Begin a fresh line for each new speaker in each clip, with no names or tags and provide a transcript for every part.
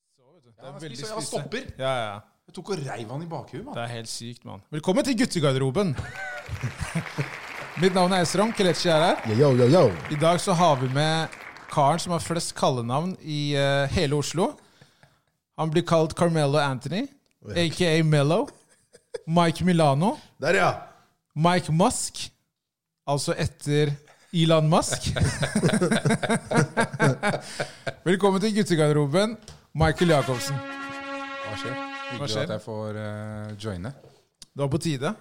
vet du.
Ja, han
Det er veldig
spiser, og han
spisse.
stopper.
Ja, ja.
Jeg tok og reiv han i bakhuet, mann.
Det er helt sykt, mann. Velkommen til guttegarderoben. Mitt navn er Esrom. Kelechi er her.
Yo, yo, yo.
I dag så har vi med karen som har flest kallenavn i eh, hele Oslo. Han blir kalt Carmelo Anthony, aka Mello. Mike Milano.
Der, ja.
Mike Musk, altså etter Elon Musk. Velkommen til guttegarderoben, Michael Jacobsen.
Hva skjer?
Hva
Hyggelig
skjer?
at jeg får eh, joine.
Du var på tide.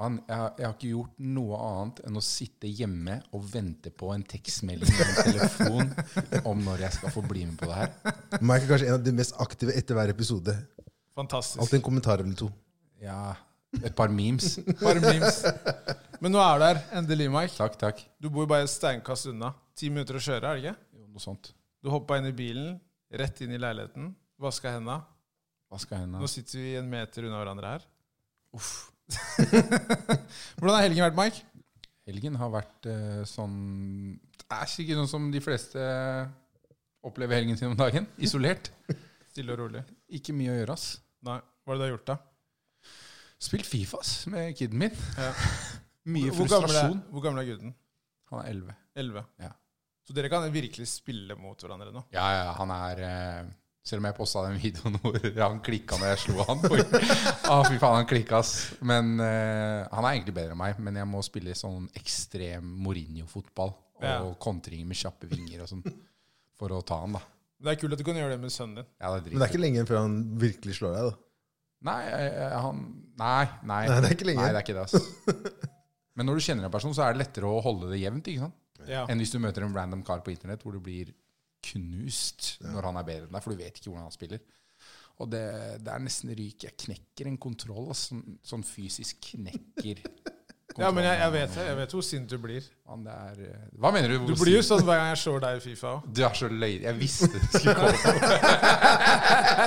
Mann, jeg, har- jeg har ikke gjort noe annet enn å sitte hjemme og vente på en tekstmelding eller en telefon om når jeg skal få bli med på det her.
Mike er kanskje en av de mest aktive etter hver episode.
Fantastisk.
Alltid en kommentar eller to.
Ja, et par memes.
Bare memes. Men nå er du her, endelig, Mike.
Takk, takk.
Du bor jo bare et steinkast unna. Ti minutter å kjøre, er det ikke?
Jo, Noe sånt.
Du hoppa inn i bilen, rett inn i leiligheten, vaska henda.
Hva skal hende?
Nå sitter vi en meter unna hverandre her. Uff. Hvordan har helgen vært, Mike?
Helgen har vært eh, sånn Det er sikkert sånn som de fleste opplever helgen sin om dagen. Isolert.
Stille og rolig.
Ikke mye å gjøre, ass.
Nei. Hva er det du har gjort, da?
Spilt Fifa, ass, med kiden min.
Ja.
mye
Hvor gammel er,
frustrasjon.
hvor gammel er gutten?
Han er 11.
11.
Ja.
Så dere kan virkelig spille mot hverandre nå?
Ja, ja, han er eh, Selv om jeg posta den videoen hvor han klikka når jeg slo han. Oi. Ah, fy faen, han klikka, ass. Men eh, han er egentlig bedre enn meg. Men jeg må spille sånn ekstrem Mourinho-fotball. Og
Ja.
kontringer med kjappe vinger og sånn. For å ta han, da.
Men Det er kult at du kan gjøre det med sønnen din.
Ja, det
Men det er
er dritkult.
ikke lenge igjen før han virkelig slår deg. da.
Nei, eh, han Nei, nei.
Nei, det er ikke lenge.
Nei, det er ikke det, ass. Men når du kjenner en person, så er det lettere å holde det jevnt ikke sant?
Ja.
enn hvis du møter en random kar på internett hvor du blir knust når han er bedre enn deg, for du vet ikke hvordan han spiller. Og det, det er nesten ryk. Jeg knekker en kontroll. ass. Sånn, sånn fysisk knekker
Ja, men jeg, jeg vet det. Jeg vet hvor sint du blir.
Han, det er, eh, hva mener du?
Du blir jo sånn hver gang jeg slår deg i Fifa òg.
Du er så løy. Jeg visste det skulle komme.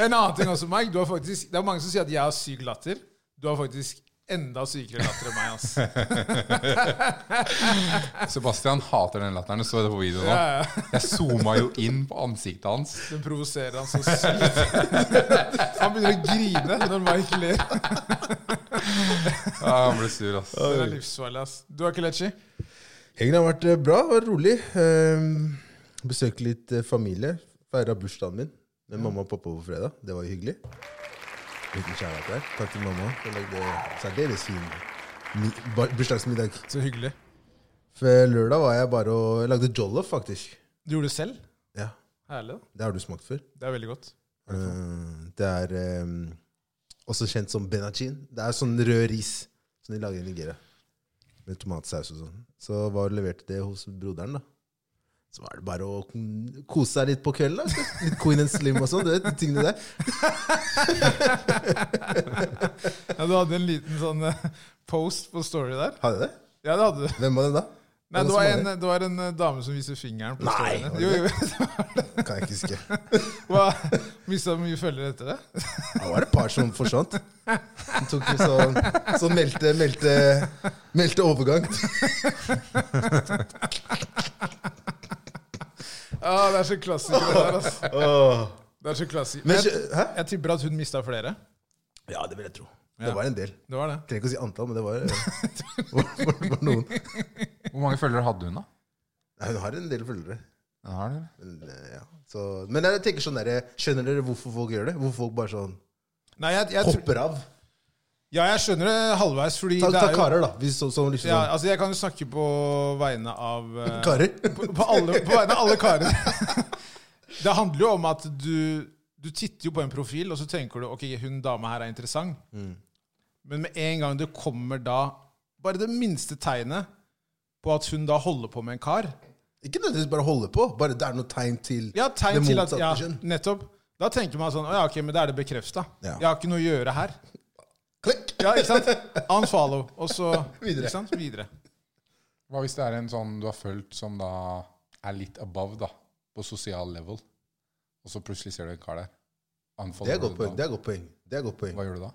En annen ting også, Mike. Du har faktisk, det er mange som sier at jeg har syk latter. Du har faktisk enda sykere latter enn meg. ass.
Sebastian hater den latteren. Du så det på videoen nå.
Ja, ja.
Jeg zooma jo inn på ansiktet hans.
Den provoserer han så sykt. Han begynner å grine når Mike ler.
Ja, han ble sur, ass.
Det er livsfarlig. ass. Du har Kelechi?
Helgen har vært eh, bra og rolig. Ehm, Besøkte litt eh, familie. Feira bursdagen min med mamma og pappa på fredag. Det var jo hyggelig. Liten kjærlighet der. Takk til mamma. Hun lagde særdeles fin mi- ba- bursdagsmiddag.
Så hyggelig.
For lørdag var jeg bare og jeg lagde jollof, faktisk.
Du gjorde det selv?
Ja,
Herlig. da.
Det har du smakt før.
Det er veldig godt.
Eh, Det er ehm, også kjent som benachin. Det er sånn rød ris som de lager i Nigeria. Med tomatsaus og sånn. Så var og leverte det hos broderen, da. Så var det bare å kon- kose seg litt på kvelden. da. Litt Queen and Slim og sånn. du vet, de tingene der.
Ja, Du hadde en liten sånn eh, post på story der.
Har jeg det?
Ja, det hadde du.
Hvem var det da?
Nei,
Hvem
det
som
var,
var
en, det var en eh, dame som viser fingeren på
Nei,
storyen.
var det
Jo, jo.
Kan jeg ikke huske.
Hva- Mista mye følgere etter det?
Det var et par som forsvant. Som tok sånn, sånn meldte, meldte, meldte overgang.
Ja, Ah, Det er så klassisk. Det der, altså.
Åh.
Det er så klassisk.
Men,
Jeg,
hæ?
jeg tipper at hun mista flere.
Ja, det vil jeg tro.
Ja.
Det var en del.
Det var det.
Jeg trenger ikke å si antall, men det var, var, var, var noen.
Hvor mange følgere hadde hun, da?
Nei, hun har en del følgere.
Den har dere.
Men, eh, ja. så, men jeg tenker sånn der, skjønner dere hvorfor folk gjør det? Hvorfor folk bare sånn
Nei, jeg, jeg, tror-
hopper av?
ja, jeg skjønner det halvveis, fordi
Ta,
det
ta
er jo
karer, da. Hvis, så, sånn liksom
ja,
sånn.
altså, Jeg kan jo snakke på vegne av eh,
Karer?
på, på, alle, på vegne av alle karene. Det handler jo om at du, du titter jo på en profil, og så tenker du ok, hun dama her er interessant.
Mm.
Men med en gang det kommer da bare det minste tegnet på at hun da holder på med en kar
Ikke nødvendigvis bare holde på, bare det er noe tegn til
Ja, tegn
det
til at
motsatte
ja,
kjønn.
Nettopp. Da tenker man sånn Å ja, ok, men da er det bekrefta.
Ja.
Jeg har ikke noe å gjøre her.
Klikk!
Ja, ikke sant? Unfollow, og så
Videre.
Ikke sant? Videre.
Hva hvis det er en sånn du har fulgt som da er litt above, da? På sosial level. Og så plutselig ser du en kar der.
Det
Unfollower
er godt
du
poeng.
da?
Det er godt poeng. Det er godt poeng.
Hva gjør du da?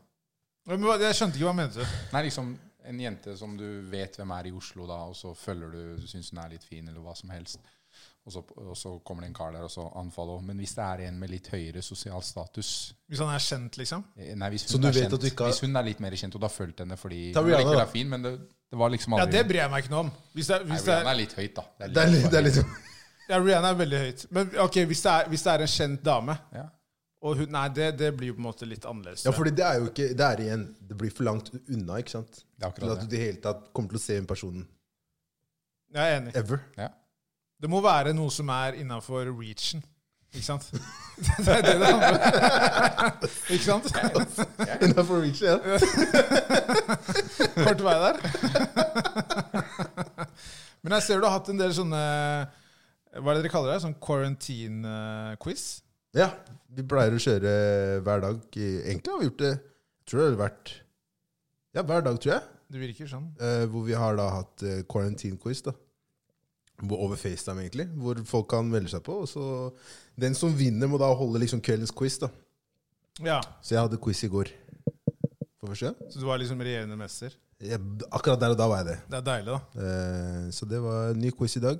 Men hva- Jeg skjønte ikke hva mente du
Nei, liksom en jente som du vet hvem er i Oslo, da, og så følger du, du syns hun er litt fin, eller hva som helst. Og så, og så kommer det en kar der, og så anfaller hun. Men hvis det er en med litt høyere sosial status
Hvis han er kjent, liksom.
eh, Nei, hvis
Så
hun,
du
er,
vet
kjent,
at du ikke har-
hvis hun er litt mer kjent, og du har fulgt henne fordi
Ta
hun
Rihanna,
likevel
da.
er fin, men det, det var liksom
Ja,
aldri
det bryr jeg meg ikke noe om. Hvis det er,
Nei,
hvis det er,
Rihanna er litt høyt, da. Det
Det er litt, det er litt
ja, Rihanna er veldig høyt. Men ok, hvis det er, hvis det er en kjent dame
Ja.
og hun, Nei, det, det blir jo på en måte litt annerledes.
Ja, fordi det er jo ikke Det er igjen Det blir for langt unna, ikke sant? Til
Det er akkurat
at
det.
du i det hele tatt kommer til å se en person
Jeg er enig.
ever.
Ja.
Det må være noe som er innafor reachen. Ikke sant? Det er det det handler om. Ikke sant?
Innenfor reach, ja.
Kort vei der. Men jeg ser du har hatt en del sånne Hva er det dere kaller det? Sånn eh, quarantine-quiz?
ja. Vi pleier å kjøre hver dag. Egentlig har vi gjort det Jeg tror det har vært Ja, hver dag, tror jeg.
Det virker sånn.
Eh, hvor vi har da hatt eh, quarantine quiz, da. Hvor- Over FaceTime, egentlig. Hvor folk kan melde seg på. Og så Den som vinner, må da holde liksom kveldens quiz, da.
Ja,
Så jeg hadde quiz i går. For første gang.
Så du var liksom regjerende mester?
Jeg, akkurat der og da var jeg det.
Det er deilig, da.
Eh, så det var en ny quiz i dag.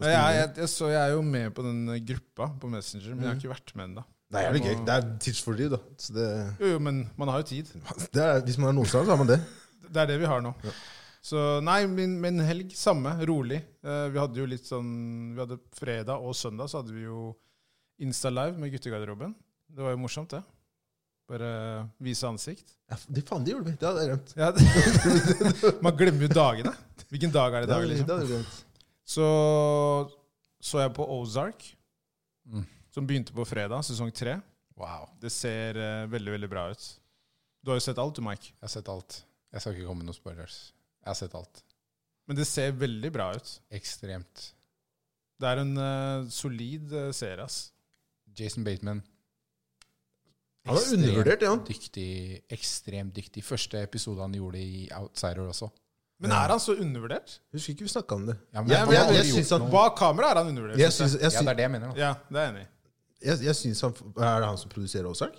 Hva
Jeg,
skal
jeg,
vi gjøre?
jeg, jeg, så jeg er jo med på den eh, gruppa på Messenger, men jeg har ikke vært med ennå.
Nei, det er gøy. Det er tidsfordriv, da. Så det,
Jo, jo, men man har jo tid.
det er, hvis man er noensinne, så har man det.
Det er det vi har nå. Så nei, min, min helg samme, rolig. Eh, vi hadde jo litt sånn Vi hadde fredag og søndag, så hadde vi jo Insta Live med guttegarderoben. Det var jo morsomt, det. Bare vise ansikt.
Ja, det faen, det gjorde vi. Det hadde jeg glemt.
Ja, man glemmer jo dagene. Hvilken dag er det i
Det
dag?
hadde, det
Liksom?
hadde jeg glemt.
Så så jeg på Ozark,
Mm.
som begynte på fredag, sesong tre.
Wow.
Det ser eh, veldig, veldig bra ut. Du har jo sett alt, du, Mike.
Jeg har sett alt. Jeg skal ikke komme med noen spoilers. Jeg har sett alt.
Men det ser veldig bra ut.
Ekstremt.
Det er en eh, solid eh, serie, ass.
Jason Bateman.
Han var
Ekstremt
undervurdert, ja.
Dyktig, ekstremt dyktig. Første episode han gjorde i Outsider også.
Men er han så undervurdert?
Husker ikke vi snakka om det.
Ja,
Ja, men jeg-
han har
jeg
aldri
synes
gjort
at-
noe-
Bak kamera er han undervurdert.
Jeg
synes jeg.
syns, jeg
Ja, det
syns,
er det jeg mener. da.
Ja, det er jeg enig i.
jeg, jeg syns han Er det han som produserer Ozark?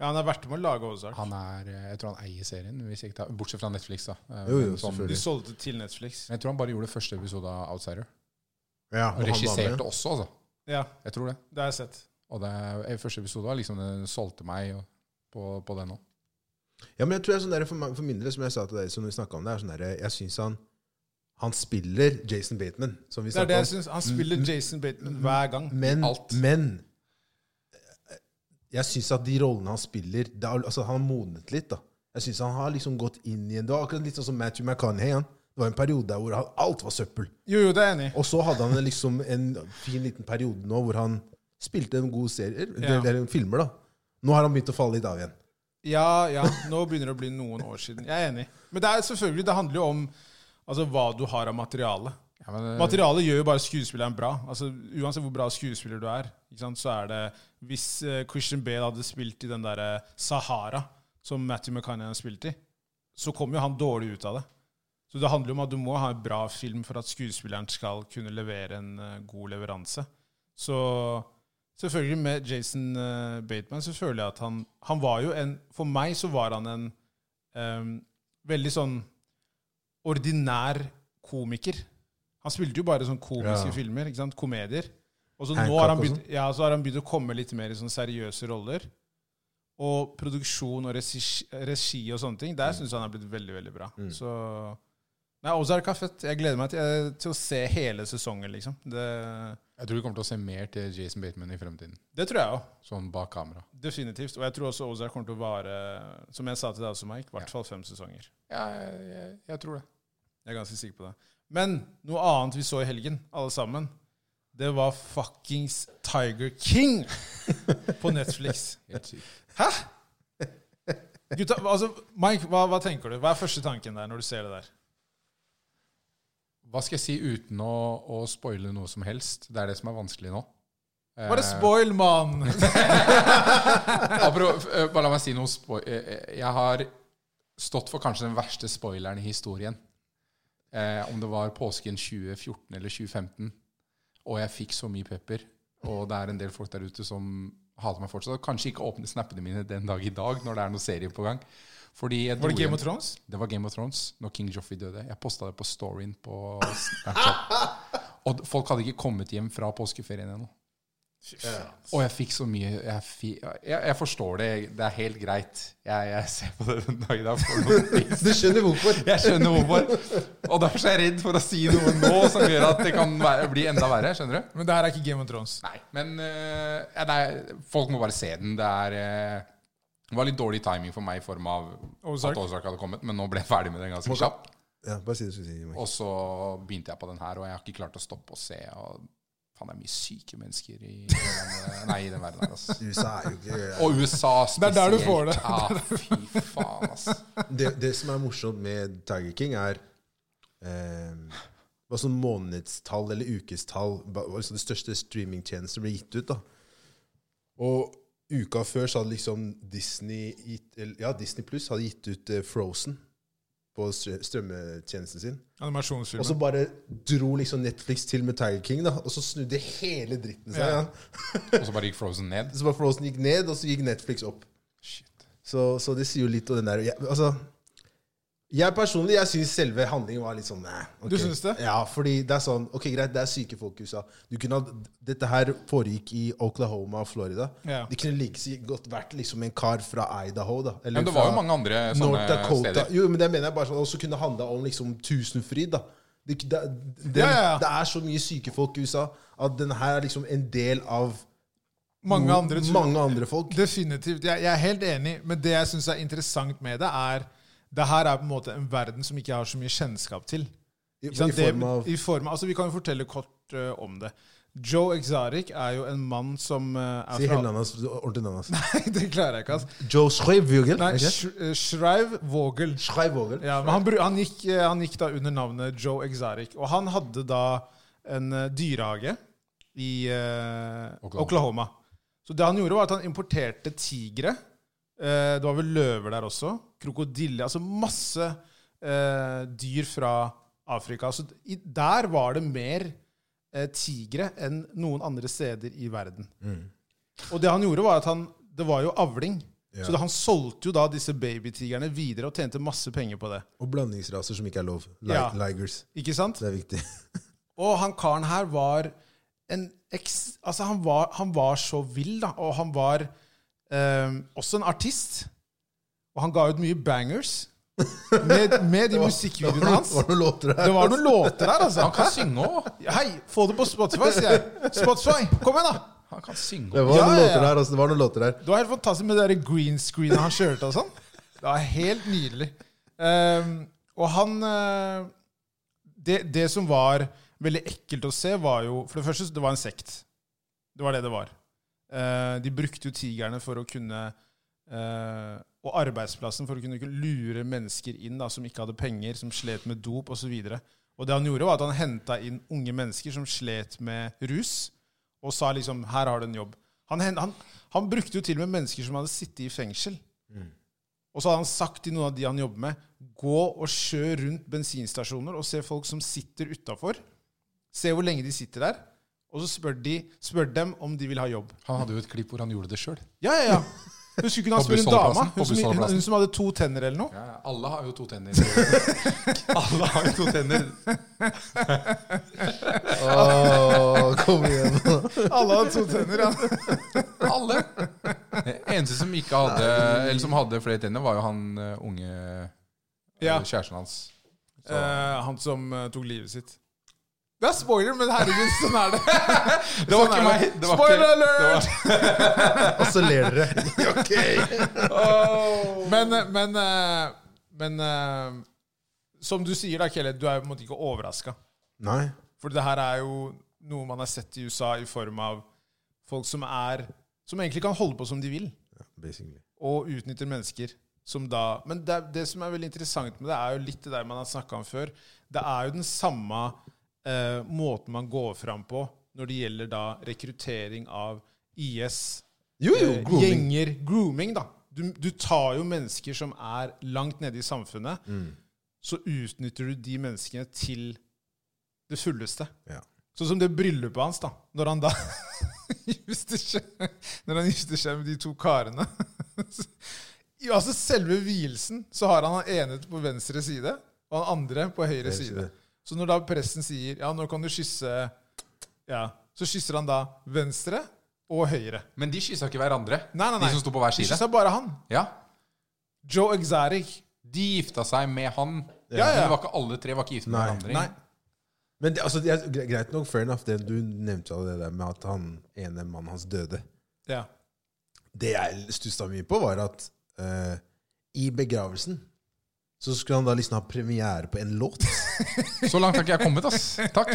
Ja, han har vært med å lage Ozark.
Han er, eh, jeg tror han eier serien, hvis jeg ikke tar, bortsett fra Netflix. da. Eh,
Jo, jo,
men som-
De
selvfølgelig.
solgte til Netflix.
Men Jeg tror han bare gjorde første episode av Outsider.
Ja,
Og regisserte også, altså.
Ja,
Jeg tror det.
det har jeg sett.
Og det, eh, første episode var liksom den solgte meg og- på, på den òg.
Ja, men jeg tror jeg er sånn der, for, meg- for min del, som jeg sa til deg som vi snakket om det, er sånn der, jeg syns han Han spiller Jason Bateman, som vi
Det er det
snakka
jeg synes. Han spiller Jason Bateman hver gang.
om. Mm, Men,
Alt.
men eh, jeg syns at de rollene han spiller det er, altså Han har modnet litt. da. Jeg syns han har liksom gått inn i en Det var akkurat litt sånn som Matthew McConaughey. Han. Det var en periode der hvor han, alt var søppel.
Jo, jo, det er jeg enig i.
Og så hadde han liksom en fin liten periode nå hvor han spilte en god serie,
Ja.
eller, eller filmer, da. Nå har han begynt å falle litt av igjen.
Ja, ja. Nå begynner det å bli noen år siden. Jeg er enig. Men det er selvfølgelig, det handler jo om altså, hva du har av materiale.
Ja, men, eh,
Materialet gjør jo bare skuespilleren bra. Altså, uansett hvor bra skuespiller du er, ikke sant, så er det Hvis eh, Christian Bale hadde spilt i den derre Sahara som Matthew McCannian spilte i, så kom jo han dårlig ut av det. Så det handler jo om at du må ha en bra film for at skuespilleren skal kunne levere en eh, god leveranse. Så selvfølgelig med Jason eh, Bateman så føler jeg at han Han var jo en For meg så var han en eh, veldig sånn ordinær komiker. Han spilte jo bare sånn komiske
Ja.
filmer, ikke sant? komedier. Og så nå
Hancock
har han
og
begynt, ja, så har han begynt å komme litt mer i sånn seriøse roller. Og produksjon og regi, regi og sånne ting, der syns jeg han er blitt veldig, veldig bra. Så Nei, Ozark er fett. Jeg gleder meg til, til å se hele sesongen, liksom. Det,
Jeg tror vi kommer til å se mer til Jason Bateman i fremtiden.
det tror jeg òg.
Sånn bak kamera.
Definitivt. Og jeg tror også Ozark kommer til å vare, som jeg sa til deg også, Mike, i hvert fall fem sesonger.
Ja, jeg, jeg, jeg tror det.
Jeg er ganske sikker på det. Men noe annet vi så i helgen, alle sammen, det var fuckings Tiger King på Netflix.
Helt sykt.
Gutta, altså, Mike, hva, hva tenker du? Hva er første tanken der når du ser det der?
Hva skal jeg si uten å, å spoile noe som helst? Det er det som er vanskelig nå.
Bare
Eh,
spoil, mann!
Apropos, eh, bare la meg si noe. spo- eh, eh, Jeg har stått for kanskje den verste spoileren i historien. Eh, om det var påsken 2014 eller 2015. Og jeg fikk så mye pepper. Og det er en del folk der ute som hater meg fortsatt. Og kanskje ikke åpner snappene mine den dag i dag når det er noen serie på gang. Fordi jeg
Var det
dro
Game
hjem-
of Thrones?
det var Game of Thrones når King Joffrey døde. Jeg posta det på storyen på Snapchat. Og d- folk hadde ikke kommet hjem fra påskeferien ennå. Og jeg fikk så mye jeg, fi, jeg, jeg forstår det. Det er helt greit. Jeg, jeg ser på det den dag i dag. for noen ting.
Du skjønner hvorfor.
Jeg skjønner hvorfor. Og derfor er jeg redd for å si noe nå som gjør at det kan være, bli enda verre. Skjønner du?
Men det her er ikke Game of Thrones.
Nei, men eh, ja, det er, folk må bare se den. Det er eh, det var litt dårlig timing for meg i form av
Ozark.
at Ozark hadde kommet, men nå ble jeg ferdig med den ganske kjapt.
Ja, bare si det du skulle si. Mike.
Og så begynte jeg på den her, og jeg har ikke klart å stoppe å se. Og faen, det er mye syke mennesker i den, eh, nei, i den verden her, altså.
USA er jo ikke
Og USA
Det
spesielt.
er der du får det.
Ja, fy faen, ass.
det, det som er morsomt med Tiger King, er eh, hva sånn månedstall eller ukestall hva- hva liksom De største streamingtjenestene ble gitt ut. da. Og uka før så hadde liksom Disney gitt, eller, ja, Disney Pluss hadde gitt ut eh, Frozen på strø- strømmetjenesten sin. Og så
Animasjonsfilmen.
bare dro liksom Netflix til med Tiger King, da, og så snudde hele dritten seg.
Ja.
Ja.
Og så bare gikk Frozen ned.
Så bare Frozen gikk ned, og så gikk Netflix opp.
Shit.
Så, så det sier jo litt om den der jeg, altså, jeg personlig jeg syns selve handlingen var litt sånn nei, ok.
Du synes det?
Ja, fordi det er sånn Ok, greit, det er syke folk i USA. Du kunne ha, dette her foregikk i Oklahoma og Florida.
Ja.
Det kunne like så godt vært liksom en kar fra Idaho, da. Eller
Men det var jo
fra
mange andre sånne
North Dakota.
steder.
Jo, men det mener jeg bare sånn også kunne handla om liksom tusenfryd, da. Det, det, det,
Ja, ja, ja.
det er så mye syke folk i USA at den her er liksom en del av
Mange andre tror
mange andre folk.
Definitivt. Jeg, jeg er helt enig, men det jeg syns er interessant med det, er det her er på en måte en verden som ikke jeg har så mye kjennskap til.
I,
Ikke sant?
i form av
det, i form av altså, Vi kan jo fortelle kort eh, om det. Joe Exotic er jo en mann som eh,
Si
er
hele navnet hans. altså, Ordentlig navn hans.
Nei, det klarer jeg ikke, altså.
Joe Schreivvogel?
Nei, Sh- eh, Shrive Vogel.
Schreivvogel.
Ja, men han, bru- han, gikk, eh, han gikk da under navnet Joe Exotic. Og han hadde da en eh, dyrehage i eh,
Oklahoma.
Oklahoma. Så det han gjorde, var at han importerte tigre. Eh, det var vel løver der også. Krokodille. Altså masse eh, dyr fra Afrika. Så i, der var det mer eh, tigre enn noen andre steder i verden. Og det han gjorde, var at han Det var jo avling.
Ja.
Så det, han solgte jo da disse babytigrene videre og tjente masse penger på det.
Og blandingsraser som ikke er lov. Li
Ja.
Ligers.
Ikke sant?
Det er viktig.
Og han karen her var en eks... Altså, han var, han var så vill, da. Og han var eh, også en artist. Og han ga ut mye bangers med, med de musikkvideoene hans.
Var det noen låter der?
Det var noen låter der, altså.
Han kan synge òg.
Hei, få det på Spotify, sier jeg. Spotify, kom igjen, da!
Han kan synge
Det
også.
var
Ja, ja,
noen
ja.
låter der, altså. Det var noen låter der.
Det var helt fantastisk med det der green screenet han kjørte og sånn. Det var helt nydelig. Ehm, og han eh, det, det som var veldig ekkelt å se, var jo For det første, det var en sekt. Det var det det var. Eh, de brukte jo tigrene for å kunne eh, Og arbeidsplassen for å kunne lure mennesker inn da, som ikke hadde penger, som slet med dop osv. Og, og det han gjorde, var at han henta inn unge mennesker som slet med rus, og sa liksom 'Her har du en jobb'. Han, hen- han, han brukte jo til og med mennesker som hadde sittet i fengsel. Og så hadde han sagt til noen av de han jobber med, gå og kjør rundt bensinstasjoner og se folk som sitter utafor. Se hvor lenge de sitter der. Og så spør, de, spør dem om de vil ha jobb.
Han hadde jo et klipp hvor han gjorde det sjøl.
Ja, ja, ja. Husker ikke hun han
På
spør en dame?
bussholdeplassen, på
Hun som, hun,
bussholdeplassen.
hun som hadde to tenner eller noe?
alle har jo to tenner. alle har jo to tenner.
Åh, kom igjen.
Alle hadde to tenner, ja.
Alle. Eneste som ikke hadde Eller som hadde flere tenner, var jo han eh, unge
Ja.
eh, kjæresten hans. Så-
Eh, han som eh, tok livet sitt. Det er spoiler, men herregud, sånn er det.
Det var
Sånn
ikke
er
meg.
det.
Det var
Spoiler
ikke,
alert!
Og så ler dere. Ok.
Oh. Men, men, eh, men eh, som du sier, da, Kelle, du er jo på en måte ikke overraska.
Nei.
For det her er jo noe man har sett i USA i form av folk som er Som egentlig kan holde på som de vil,
Basically.
og utnytter mennesker. Som da, men det, er- det som er veldig interessant med det, er jo litt det der man har snakka om før. Det er jo den samme eh, måten man går fram på når det gjelder da rekruttering av IS
Jo, jo.
eh,
Grooming.
gjenger grooming, da. Du, du tar jo mennesker som er langt nede i samfunnet,
Mm.
så utnytter du de menneskene til det fulleste.
Ja.
Sånn som det bryllupet hans, da. Når han da gifter seg, når han gifter seg med de to karene. Jo, altså Selve vielsen så har han han ene på venstre side og han andre på høyre
Høyre
side.
side.
Så når da presten sier ja, nå kan du kysse ja, Så kysser han da venstre og høyre.
Men de kyssa ikke hverandre,
Nei, nei, nei.
de som sto på hver
De
side.
kysser bare han.
Ja.
Joe Exaric.
De gifta seg med han.
Ja,
Men
ja.
det var ikke alle tre var ikke gift med
Nei.
hverandre.
Nei.
Men det, altså, det er gre- greit nok, fair enough. Det, du nevnte jo det der med at han ene mannen hans døde.
Ja.
Det jeg stussa mye på, var at eh, i begravelsen så skulle han da liksom ha premiere på en låt.
Så langt har ikke jeg kommet, ass. Takk.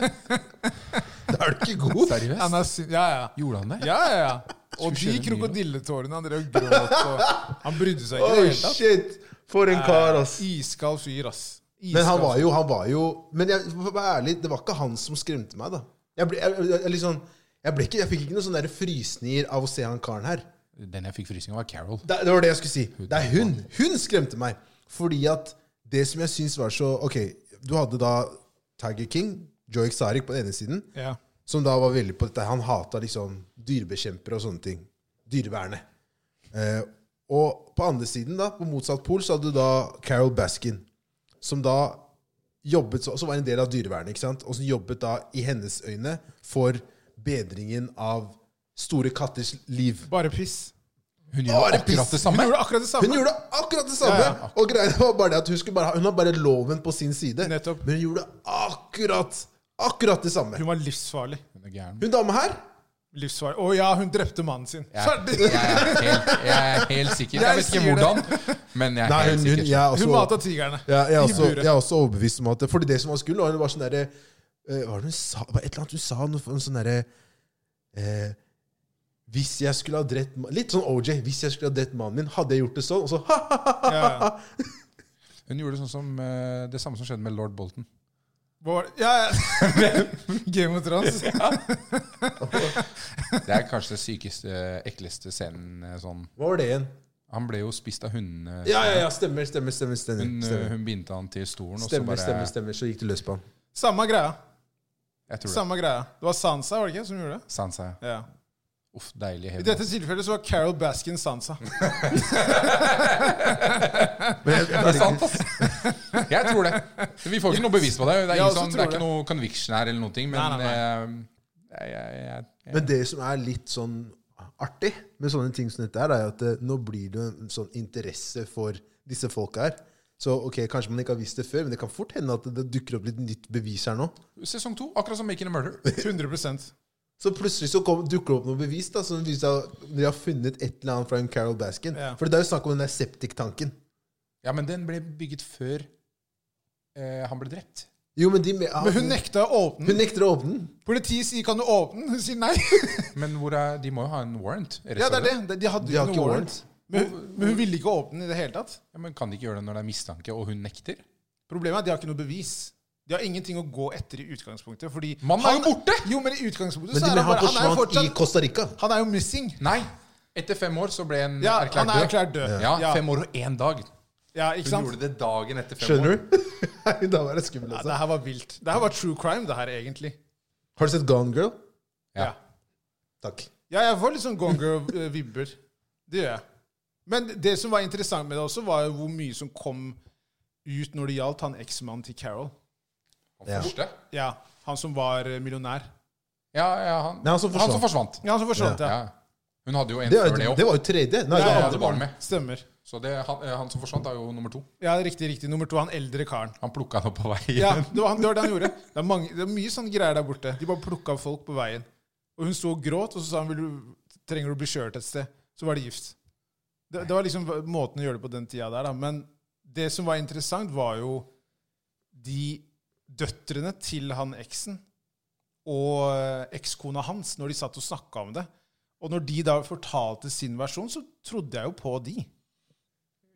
Da er du ikke god!
Han
Seriøst?
er syn- ja, ja.
Gjorde han det?
Ja, ja, ja. Og de
Skulle kjøre mye.
krokodilletårene han drev og gråt og Han brydde seg ikke i det
Oh,
hele tatt.
shit! For en kar, ass.
Iskald fyr, ass.
Men han var jo, han var jo Men jeg, for å være ærlig, det var ikke han som skremte meg, da. Jeg, ble, jeg, jeg, jeg, liksom, jeg, ble ikke, jeg fikk ikke noen sånne der frysninger av å se han karen her.
Den jeg fikk frysning av, var Carol.
Det, det var det jeg skulle si. Det er hun. Hun skremte meg. Fordi at det som jeg syns var så Ok, du hadde da Tiger King, Joe Exaric på den ene siden,
Ja.
som da var veldig på dette. Han hata liksom dyrebekjempere og sånne ting. Dyrevernet. Eh, og på andre siden, da, på motsatt pol, så hadde du da Carol Baskin, som da jobbet, så- som var en del av dyrevernet, ikke sant? og som jobbet da, i hennes øyne, for bedringen av store katters liv.
Bare piss.
Hun
Bare
gjorde
piss.
akkurat det
Hun
samme.
gjorde akkurat det samme.
Hun gjorde akkurat det samme.
Ja,
Og greia var bare det at hun, skulle bare ha, hun har bare loven på sin side.
Nettopp.
Men hun gjorde akkurat akkurat det samme.
Hun var livsfarlig.
Hun er gæren.
Hun dama her
Livsfarlig. Å ja, hun drepte mannen sin. Ferdig!
Jeg er helt, jeg er helt sikker. Jeg vet ikke
sier det.
hvordan, men jeg
Nei,
er helt
hun, hun,
sikker.
jeg, er også,
Hun mata tigrene.
ja, jeg, er
i
også,
buret.
jeg er også overbevist om at Fordi det som var skummelt, var hun var sånn derre eh, Hva var det hun sa? Det var et eller annet hun sa? Noe for- en sånn derre eh, Hvis jeg skulle ha drept ma- Litt sånn OJ. Hvis jeg skulle ha drept mannen min, hadde jeg gjort det sånn? Og så ha-ha-ha!
Ja,
Hun gjorde sånn som, eh, det samme som skjedde med lord Bolton.
Vår- ja, ja. Game of Thrones.
Det er kanskje det sykeste, ekleste scenen. eh, Sånn.
Hva var det igjen?
Han ble jo spist av hundene.
Ja, ja, ja. Stemmer, stemmer, stemmer. Stemmer,
Hun, eh,
stemmer,
hun bindte han til stolen, og så
stemmer,
bare
stemmer, stemmer. Så gikk det løs på han.
Samme greia.
Jeg tror det.
Samme greia. Det var Sansa var det ikke, som gjorde det?
Sansa. ja.
Ja.
Uff, deilig
I
hevn.
dette tilfellet så var Carol Baskin Sansa.
Men jeg, jeg,
Det er sant, ass! Jeg tror det. Vi får ikke noe bevis på det. Det er,
Jeg
ingen
også
sånn, det
tror
er ikke noe conviction her, eller noen ting, men
Nei, nei,
eh, jeg, jeg, jeg, jeg,
Men det som er litt sånn artig med sånne ting som dette her, er at eh, nå blir det jo en sånn interesse for disse folka her. Så ok, kanskje man ikke har visst det før, men det kan fort hende at det dukker opp litt nytt bevis her nå.
Sesong to, akkurat som Making a Murder.
100
Så plutselig så kom, dukker det opp noe bevis da, som viser at de har funnet et eller annet fra en Carol Baskin.
Ja.
For det er jo snakk om den der septiktanken.
Ja, men den ble bygget før eh, han ble drept.
Jo, men de med,
Men hun nekta å åpne
hun
den.
nekter å åpne den.
Politiet sier 'kan du åpne den'? Hun sier nei.
Men hvor er, de må jo ha en warrant?
Ja, det er det. De- De hadde
De har
ikke
ikke
noe
warrant.
warrant. Men, hun- men hun ville ikke åpne den i det hele tatt.
Ja, men kan de ikke gjøre det når det er mistanke, og hun nekter?
Problemet er at de har ikke noe bevis. De har ingenting å gå etter i utgangspunktet. Fordi
Mannen er jo borte!
Jo, men i utgangspunktet så
Men de
er han,
med han
bare, han er jo
forsvant i
fortsatt
Costa Rica.
Han er jo missing.
Nei! Etter fem år så ble en
Ja, han er
erklært død.
erklært død.
Ja, fem år og én dag. Hun
Ja, ikke sant?
gjorde det dagen etter fem år.
Skjønner du? Nei, da var det skummelt,
Ja,
altså.
det her var vilt. Det her var true crime, det her, egentlig.
Har du sett Gone Girl?
Ja.
Ja.
Takk.
Ja, jeg får litt sånn Gone Girl-vibber. Det gjør jeg. Men det som var interessant med det også, var jo hvor mye som kom ut når det gjaldt han eksmannen til Carol.
Han første.
Ja, Han som var eh, millionær.
Ja, ja, han,
Nei, han som
han som forsvant.
Ja, han som forsvant,
Ja.
ja.
Hun hadde jo en
Det,
før det
det,
òg.
var jo tredje. Nei,
Ja,
det
ja,
var
det
andre
var
barn.
han med.
Stemmer.
Så det, han, eh, han som forsvant, er jo nummer to.
Ja, riktig, riktig. Nummer to, han eldre karen.
Han plukka han opp på vei
Ja,
igjen.
det var, han, det var det han gjorde. Det er, mange, det er mye sånne greier der borte. De bare plukka folk på veien. Og hun sto og gråt, og så sa han Vil du, trenger du å bli kjørt et sted. Så var det gift. Det, det var liksom måten å gjøre det på den tida der, da. Men det som var interessant, var jo de døtrene til han eksen og eh, ekskona hans, når de satt og snakka om det. Og når de da fortalte sin versjon, så trodde jeg jo på de.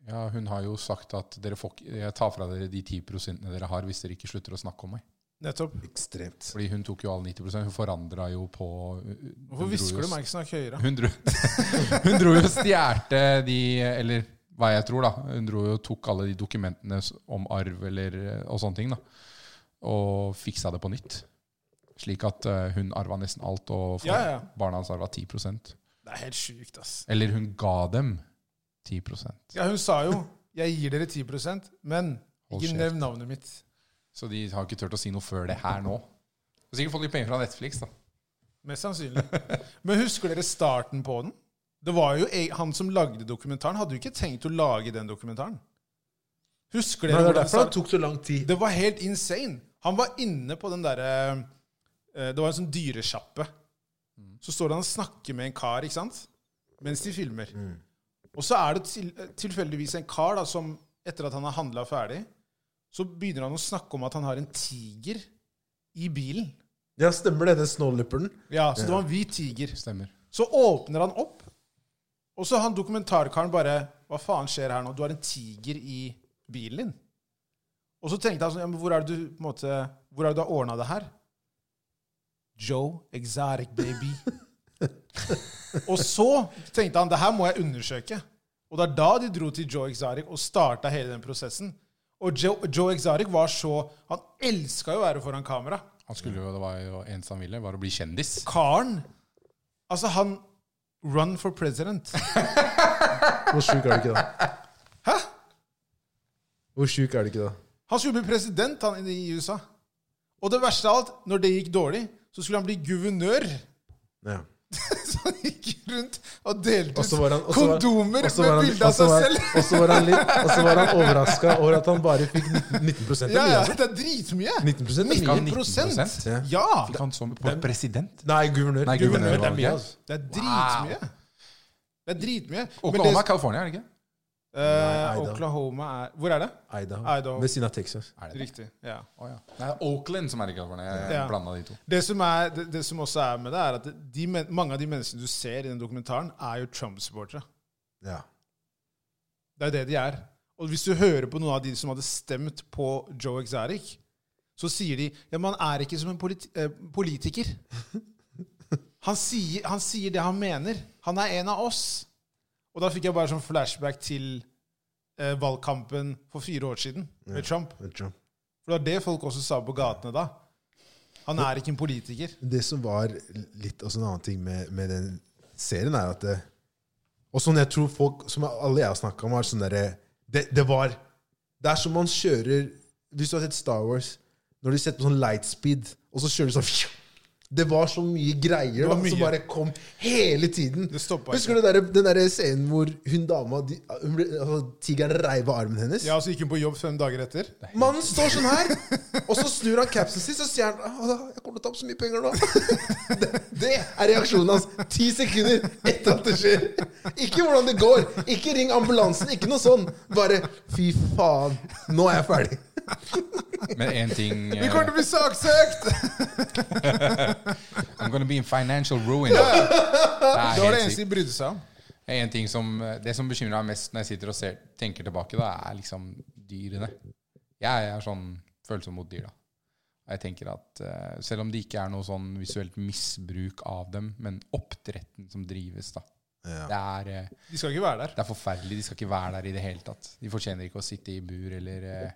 Ja, hun har jo sagt at dere får, ikke- jeg tar fra dere de 10 dere har, hvis dere ikke slutter å snakke om meg.
Nettopp.
Ekstremt.
Fordi hun tok jo alle 90 Hun forandra jo på
Hvorfor hvisker du meg ikke snakk høyere?
Hun dro, hun dro jo og stjerte de Eller hva jeg tror, da. Hun dro jo og tok alle de dokumentene s- om arv eller, eh, og sånne ting. da Og fiksa det på nytt. Slik at eh, hun arva nesten alt, og for,
Ja, ja.
barna hans arva 10
Det er helt sjukt, ass.
Eller hun ga dem 10
Ja, hun sa jo 'jeg gir dere 10 men
Hold
Ikke
kjeft.
nevn navnet mitt.
Så de har ikke turt å si noe før det her nå. Du har sikkert fått litt penger fra Netflix, da.
Mest sannsynlig. Men husker dere starten på den? Det var jo e- Han som lagde dokumentaren, hadde jo ikke tenkt å lage den dokumentaren. Husker
Nei,
dere
det
hvordan
er
det
derfor
startet?
det tok så lang tid.
Det var helt insane. Han var inne på den derre eh, Det var en sånn dyresjappe. Så står han og snakker med en kar ikke sant? mens de filmer. Og så er det til, eh, tilfeldigvis en kar da, som etter at han har handla ferdig, så begynner han å snakke om at han har en tiger i bilen.
Ja, stemmer det. Den snålipperten.
Ja, Så det var en hvit tiger.
Stemmer.
Så åpner han opp, og så han dokumentarkaren bare Hva faen skjer her nå? Du har en tiger i bilen din. Og så tenkte han sånn ja, men Hvor er det du, på en måte, hvor er det du har ordna det her? Joe Exotic Baby. og så tenkte han det her må jeg undersøke. Og det er da de dro til Joe Exotic og starta hele den prosessen. Og Joe, Joe Exotic var så Han elska jo å være foran kamera
Han skulle jo, det var jo eneste han ville, var å bli kjendis.
karen Altså, han Run for president.
Hvor sjuk er du ikke da? Hæ? Hvor sjuk er du ikke da?
Han skulle bli president han i USA. Og det verste av alt, når det gikk dårlig, så skulle han bli guvernør.
Ja.
Så han gikk rundt og delte
Og
ut
så var han, og så var-
kondomer
og så var
med
han-
bilde
og
av
så
seg
var-
selv.
Og så var han, litt- og så var han overraska over at han bare fikk 19, 19
Ja, ja,
av det.
det er dritmye.
19 er
Fikk han
mye.
19
19%?
Ja!
Fikk han som på president?
Nei, guvernør.
Nei,
guvernør,
guvernør.
det er
var
mye,
ikke.
altså. Det er dritmye. Det er dritmye. Men
Oklahoma er California, er det ikke?
det, eh,
Idaho.
Oklahoma er Hvor er det?
Idaho.
Idaho.
Ved siden av Texas.
Er det det?
Riktig. ja.
Å, ja. Nei, det er Oakland som er i California. Jeg
Ja.
blanda de to.
Det som, er, det, det som også er med det, er at de, men- mange av de menneskene du ser i den dokumentaren, er jo Trump-supportere.
Ja.
Det er jo det de er. Og hvis du hører på noen av de som hadde stemt på Joe Exotic, så sier de ja, men han er ikke som en politi eh, politiker. Han sier, han sier det han mener. Han er en av oss. Og da fikk jeg bare sånn flashback til eh, valgkampen for fire år siden med Trump.
med Trump.
For det var det folk også sa på gatene da. Han er ikke en politiker.
Det som var litt også en annen ting med, med den serien, er at det, Og sånn jeg tror folk, som alle jeg har snakka med, er sånn derre det, det var Det er som man kjører Hvis du har sett Star Wars, når de setter på sånn lightspeed, og så kjører du sånn fju. Det var så mye greier da,
var
som
mye.
bare kom hele tiden.
Det stoppet
Husker du der, den der scenen hvor hun dama de, hun ble, altså, Tigeren reiv av armen hennes?
Ja, så altså gikk hun på jobb fem dager etter.
Mannen står sånn her, og så snur han capsen sin, så sier han «Åh, 'Jeg kommer til å tape så mye penger nå'. Det, det er reaksjonen hans ti sekunder etter at det skjer. Ikke hvordan det går, ikke ring ambulansen, ikke noe sånn. Bare 'fy faen, nå er jeg ferdig'.
Men én ting
Vi
eh,
kommer til å bli saksøkt!
I'm gonna be in financial ruin. Det er
Det var det
helt
eneste
sykt.
de brydde seg om.
En ting som, eh, det som bekymrer meg mest når jeg sitter og ser, tenker tilbake, da, er liksom dyrene. Jeg er sånn følsom mot dyr, da. Og jeg tenker at eh, selv om det ikke er noe sånn visuelt misbruk av dem, men oppdretten som drives, da. Det er eh,
De skal ikke være der.
Det er forferdelig. De skal ikke være der i det hele tatt. De fortjener ikke å sitte i bur eller eh,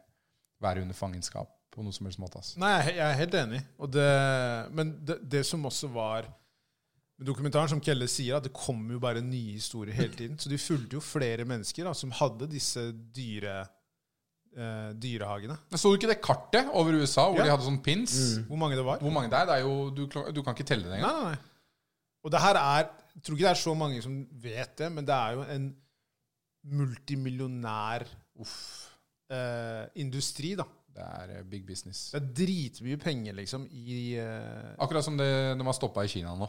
være under fangenskap på noe som helst måte. ass.
Nei, jeg er helt enig. Og det, men det, det som også var med dokumentaren, som Kelle sier, at det kom jo bare nye historier hele tiden. Så de fulgte jo flere mennesker da, som hadde disse dyre, eh, dyrehagene.
Men Så du ikke det kartet over USA hvor
Ja.
de hadde sånn pins?
Hvor mange det var?
Hvor mange det er? Det er jo, du, kla- du kan ikke telle
Nei,
det engang.
nei, nei. Og det her er Jeg tror ikke det er så mange som vet det, men det er jo en multimillionær eh, industri, da.
Det er eh, big business.
Det er dritmye penger, liksom, i eh,
Akkurat som det de har stoppa i Kina nå.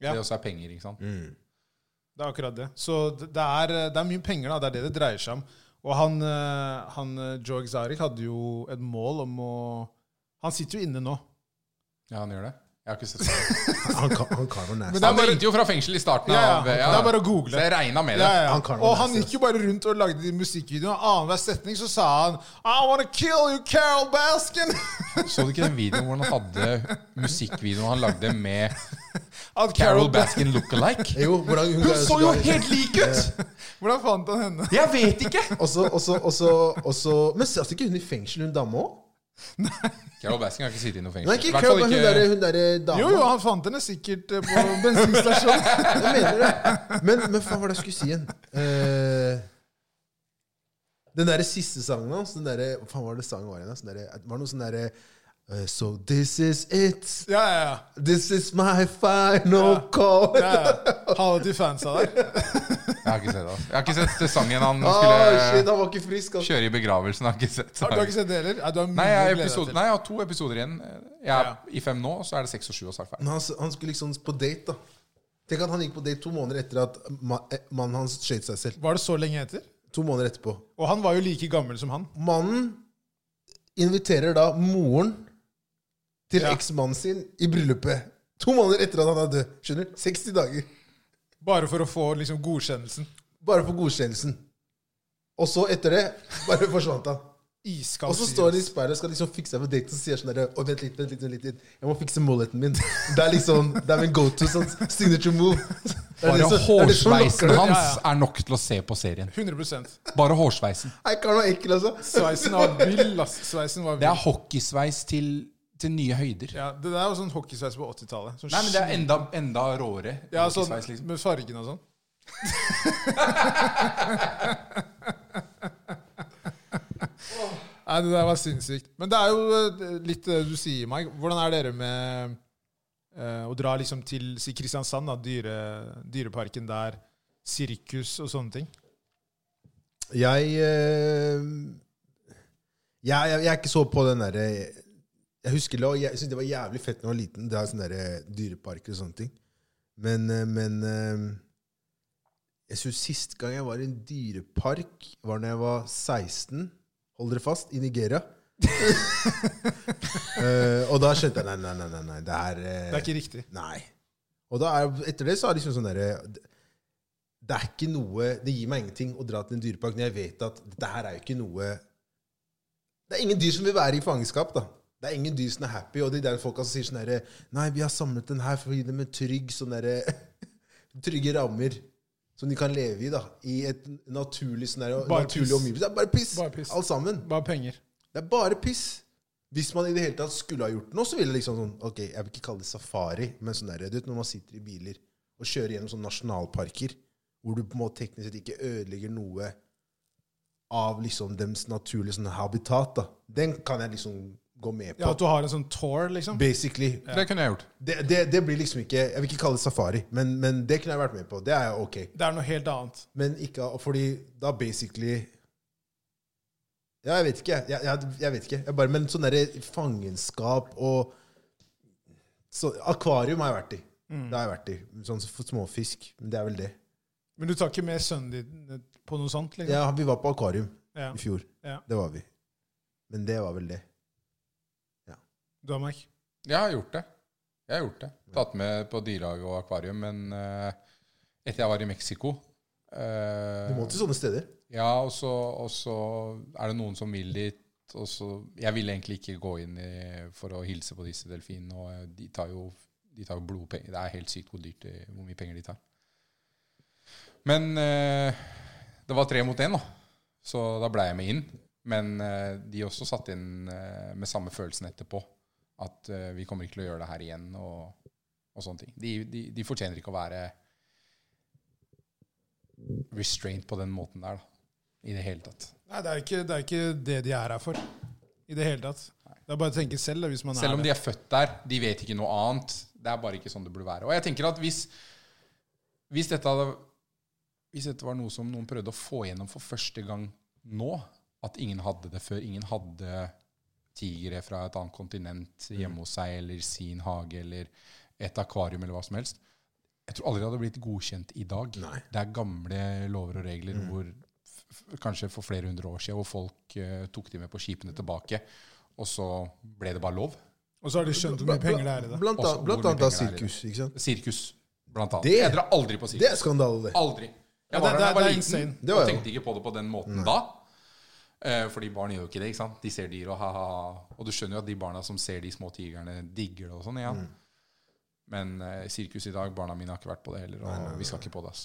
Ja. Mm.
Det også er penger, ikke sant?
Det er akkurat det. Så det det er, eh, det er mye penger, da. Det er det det dreier seg om. Og han, eh, han eh, Joe Exotic hadde jo et mål om å Han sitter jo inne nå.
Ja, han gjør det. Jeg har ikke sett det.
Han, ka- han kan være nasty.
det er
Han
bare-
ringte jo fra fengsel i starten
Ja, ja,
av eh,
det er bare å google.
Så jeg regna med det.
Ja, ja, ja.
Han kan være
og han
nasty,
gikk jo bare rundt og lagde de musikkvideoene. og Annenhver setning så sa han I wanna kill you, Carol Baskin!
Så du ikke den videoen hvor han hadde musikkvideoen han lagde med
At
Carol
Carol Baskin
Baskin look-alike?
Jo, hvordan hun,
Hun så jo helt lik ut!
Hvordan fant han henne?
Jeg vet ikke!
Også, også, også, også, Men satt ikke hun i fengsel, hun dama òg?
Carol Baskin har ikke sittet i noe fengsel.
Nei, ikke
I hvert fall
Carol, men hun derre hun derre dama.
Jo, jo, han fant henne sikkert eh, på bensinstasjonen.
Jeg mener det. Men, men faen, hva var det jeg skulle si igjen? Eh, Den der siste sangen hans den der, Hva faen var det sangen var igjen? ass? Den der, det var noe sånn derre eh, So this is it.
Ja, ja, ja.
This is my final
Ja.
call.
ja, ja. Halla til fansa der.
Jeg har ikke sett det. ass. Jeg har ikke sett sangen han
Ah, shit,
skulle
han var ikke frisk. ass.
kjøre i begravelsen. Jeg har ikke sett
Har du ikke
sangen.
sett det heller? Ja, du har mye
Nei, jeg har,
å glede deg
episode,
til.
nei, jeg har to episoder igjen. Jeg er
Ja.
i fem nå, så er det seks og sju. Og så er det ferdig.
Men han, han skulle liksom på date, da. Tenk at han gikk på date to måneder etter at ma eh, mannen hans skjøt seg selv.
Var det så lenge etter?
To måneder etterpå.
Og han var jo like gammel som han.
Mannen inviterer da moren til
Ja.
eksmannen sin i bryllupet. To måneder etter at han er død. Skjønner? 60 dager.
Bare for å få liksom, godkjennelsen.
Bare for godkjennelsen. Og så, etter det, bare forsvant han.
Iskald
Og så
fyr.
står han i speilet og skal liksom fikse seg på daten og sier sånn derre «Å, Vent litt, vent litt, vent litt. Jeg må fikse mulleten min. Det er liksom Det er min go to sånn signature move. Det er liksom- det
Bare
er det som lokker
hårsveisen
det.
hans
Ja,
er nok til å se på serien.
100
Bare hårsveisen.
Nei, karen var ekkel, altså.
Sveisen var vill, ass. Sveisen var
Det
vill.
er hockeysveis til, til nye høyder.
Ja, det der var sånn hockeysveis på 80-tallet. Sånn
Nei, men det er enda, enda råere.
Ja,
altså-
sånn
hockeysveis, liksom.
med fargen og sånn. Nei, det der var sinnssykt. Men det er jo eh, litt det du sier, Mike. Hvordan er dere med eh, å dra liksom til si Kristiansand, da, dyre, dyreparken der, sirkus og sånne ting?
Jeg, eh, jeg, jeg Jeg er ikke så på den derre Jeg husker det, og jeg syntes det var jævlig fett da jeg var liten. Det er sånne der dyreparker og sånne ting. Men, eh, men eh, Jeg synes sist gang jeg var i en dyrepark, var når jeg var 16. Hold dere fast, i Nigeria. Eh, og da skjønte jeg Nei, nei, nei, nei, nei det eh, er
Det er ikke riktig.
Nei. Og da er, etter det så er det liksom sånn derre Det er ikke noe Det gir meg ingenting å dra til en dyrepark når jeg vet at dette her er jo ikke noe Det er ingen dyr som vil være i fangenskap, da. Det er ingen dyr som er happy, og de der folka som sier sånn derre Nei, vi har samlet den her for å gi dem en trygg sånn derre Trygge rammer. Som de kan leve i, da. I et naturlig scenario.
Bare
naturlig
piss.
omgivelse. Det er bare piss,
Bare piss.
alt sammen.
Bare penger.
Det er bare piss. Hvis man i det hele tatt skulle ha gjort noe, så ville det liksom sånn Ok, jeg vil ikke kalle det safari, men sånn der, du vet når man sitter i biler og kjører gjennom sånne nasjonalparker, hvor du på en måte teknisk sett ikke ødelegger noe av liksom deres naturlige sånne habitat, da. Den kan jeg liksom gå med på.
Ja, At du har en sånn tour, liksom.
Basically.
Det kunne jeg gjort.
Det, det, det blir liksom ikke Jeg vil ikke kalle det safari, men, men det kunne jeg vært med på. Det er jeg ok.
Det er noe helt annet.
Men ikke av- Fordi da basically Ja, jeg vet ikke. Jeg, jeg, jeg vet ikke. Jeg bare, men sånn derre fangenskap og så, Akvarium har jeg vært i.
Mm.
Det har jeg vært i. Sånn f- småfisk. Men det er vel det.
Men du tar ikke med sønnen din eh, på noe sånt? liksom?
Ja, vi var på akvarium
Ja.
i fjor.
Ja.
Det var vi. Men det var vel det.
Du har Mike?
Jeg har gjort det. Jeg har gjort det. Tatt med på dyrehage og akvarium, men eh, etter jeg var i Mexico eh,
Du må til sånne steder.
Ja, og så, og så er det noen som vil dit. Og så, jeg ville egentlig ikke gå inn i, for å hilse på disse delfinene. Og eh, de tar jo, de tar jo blodpenger. Det er helt sykt hvor, dyrt, det- hvor mye penger de tar. Men eh, det var tre mot én, da. Så da ble jeg med inn. Men eh, de også satt inn eh, med samme følelsen etterpå. At eh, vi kommer ikke til å gjøre det her igjen, og, og sånne ting. De, de, de fortjener ikke å være restraint på den måten der, da. I det hele tatt.
Nei, det er, ikke, det er ikke det de er her for. I det hele tatt. Det er bare å tenke selv. da, hvis man
Selv om
er
de er født der, de vet ikke noe annet. Det er bare ikke sånn det burde være. Og jeg tenker at hvis, hvis, dette, hadde, hvis dette var noe som noen prøvde å få gjennom for første gang nå, at ingen hadde det før, ingen hadde tigre fra et annet kontinent
Mm.
hjemme hos seg, eller sin hage, eller et akvarium, eller hva som helst Jeg tror aldri det hadde blitt godkjent i dag.
Nei.
Det er gamle lover og regler hvor f- f- Kanskje for flere hundre år siden, hvor folk eh, tok de med på skipene tilbake. Og så ble det bare lov.
Og så har de skjønt hvor mye penger det er i det.
Blant,
Også
annet-
hvor
blant
mye
annet av
penger det er i
sirkus. ikke sant?
Sirkus, blant annet.
Det-
jeg drar aldri på
Det
sirkus.
er skandale, det.
Aldri.
Ja,
Jeg var
det-
der da
det-
jeg var
det er
liten
insane.
Det var
og
jeg
tenkte ikke på det på den måten da. Eh, Fordi barn gjør jo ikke det. ikke sant? De ser dyr og ha-ha. Og du skjønner jo at de barna som ser de små tigrene, digger det og sånn. ja.
Mm.
Men eh, sirkus i dag, barna mine har ikke vært på det heller. Og vi skal ikke på det. ass.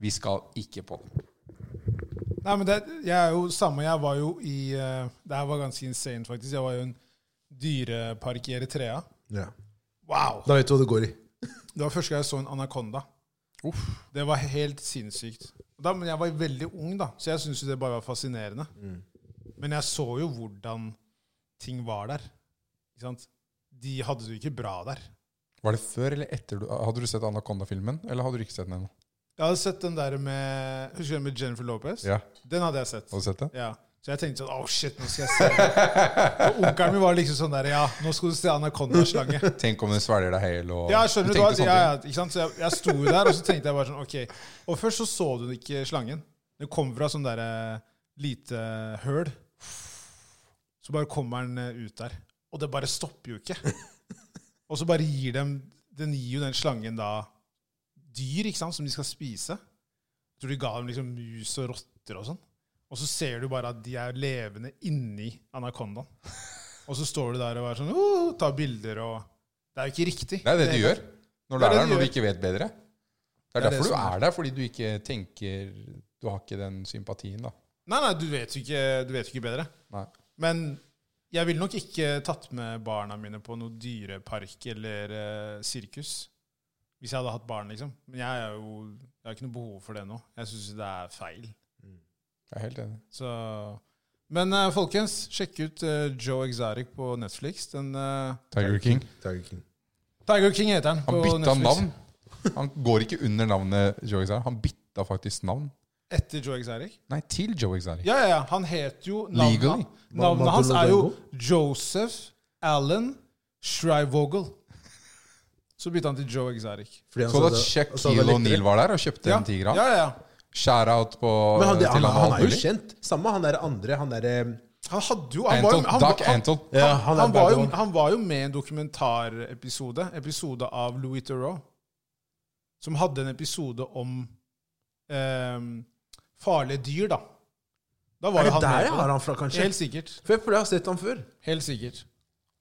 Vi skal ikke på det.
Nei, men det, jeg er jo samme. Jeg var jo i eh, Det her var ganske insane, faktisk. Jeg var jo i en dyrepark i Eritrea.
Ja.
Wow!
Da vet du hva det går i.
Det var første gang jeg så en anakonda.
Uff.
Det var helt sinnssykt. Da, men jeg var veldig ung, da, så jeg syntes jo det bare var fascinerende.
Mm.
Men jeg så jo hvordan ting var der. Ikke sant? De hadde det jo ikke bra der.
Var det før eller etter? du- Hadde du sett Anaconda-filmen, eller hadde du ikke sett den ennå?
Jeg hadde sett den der med Husker du den med Jennifer Lopez?
Ja.
Den hadde jeg sett.
Hadde du sett den?
Ja. Så jeg tenkte sånn Å, shit, nå skal jeg se det. Og onkelen min var liksom sånn der Ja, nå skal du se Anaconda-slange.
Tenk om den svelger deg hel og
Ja, skjønner du,
tenkte sånn,
da,
sånne
ja, ja,
ting.
ikke sant? Så jeg, jeg sto jo der, og så tenkte jeg bare sånn Ok. Og først så så du ikke slangen. Den kom fra sånn derre lite høl. Så bare kommer den eh, ut der. Og det bare stopper jo ikke. Og så bare gir dem Den gir jo den slangen da dyr, ikke sant, som de skal spise. Jeg tror de ga dem liksom mus og rotter og sånn. Og så ser du bare at de er levende inni anakondaen. Og så står du der og er sånn uh, tar bilder og Det er jo ikke riktig.
Det er det du gjør når du
Det er
er
det
der,
du
når du
gjør.
ikke vet bedre. Det
Det er
er
det
derfor du
som er.
er der, fordi du ikke tenker Du har ikke den sympatien, da.
Nei, nei, du vet jo ikke, du vet jo ikke bedre.
Nei.
Men jeg ville nok ikke tatt med barna mine på noen dyrepark eller eh, sirkus. Hvis jeg hadde hatt barn, liksom. Men jeg, er jo, jeg har ikke noe behov for det nå. Jeg syns det er feil.
Jeg er helt enig.
Så. Men eh, folkens, sjekk ut eh, Joe Exotic på Netflix. Den, eh,
Tiger King.
Tiger King.
Tiger King heter den.
Han
på
bytta
Netflix.
navn. Han går ikke under navnet Joe Exotic. Han bytta faktisk navn.
Etter Joe Exotic.
Nei, til Joe Exotic.
Ja, ja, ja. Han het jo Navnet,
Legally.
Hva- hva
navnet hans
kaller
er
du
jo
den
Joseph Allen Shrivogel. Så bytta han til Joe Exotic.
Fordi han
Så
sa
da
det- og så hadde
Shaquille
han litt
O'Neill
rett.
var der og kjøpte en tiger.
Ja,
han.
ja, ja.
Shout-out på eh,
Men han,
til
han, han, er jo
Halvøyli.
kjent. Samme han der eh, andre. Han derre
Han hadde jo Han var,
Anton.
jo- han,
Doc
han,
Anton.
ja,
han,
er
var
bad
jo,
boy.
han var jo med i en dokumentarepisode, episode av Louis Theroux, som hadde en episode om ehm, farlige dyr, da. Da var
Er
jo
det
han
der
med
jeg
på
har
det.
han fra, kanskje?
Helt sikkert.
For jeg føler jeg har sett han før.
Helt sikkert.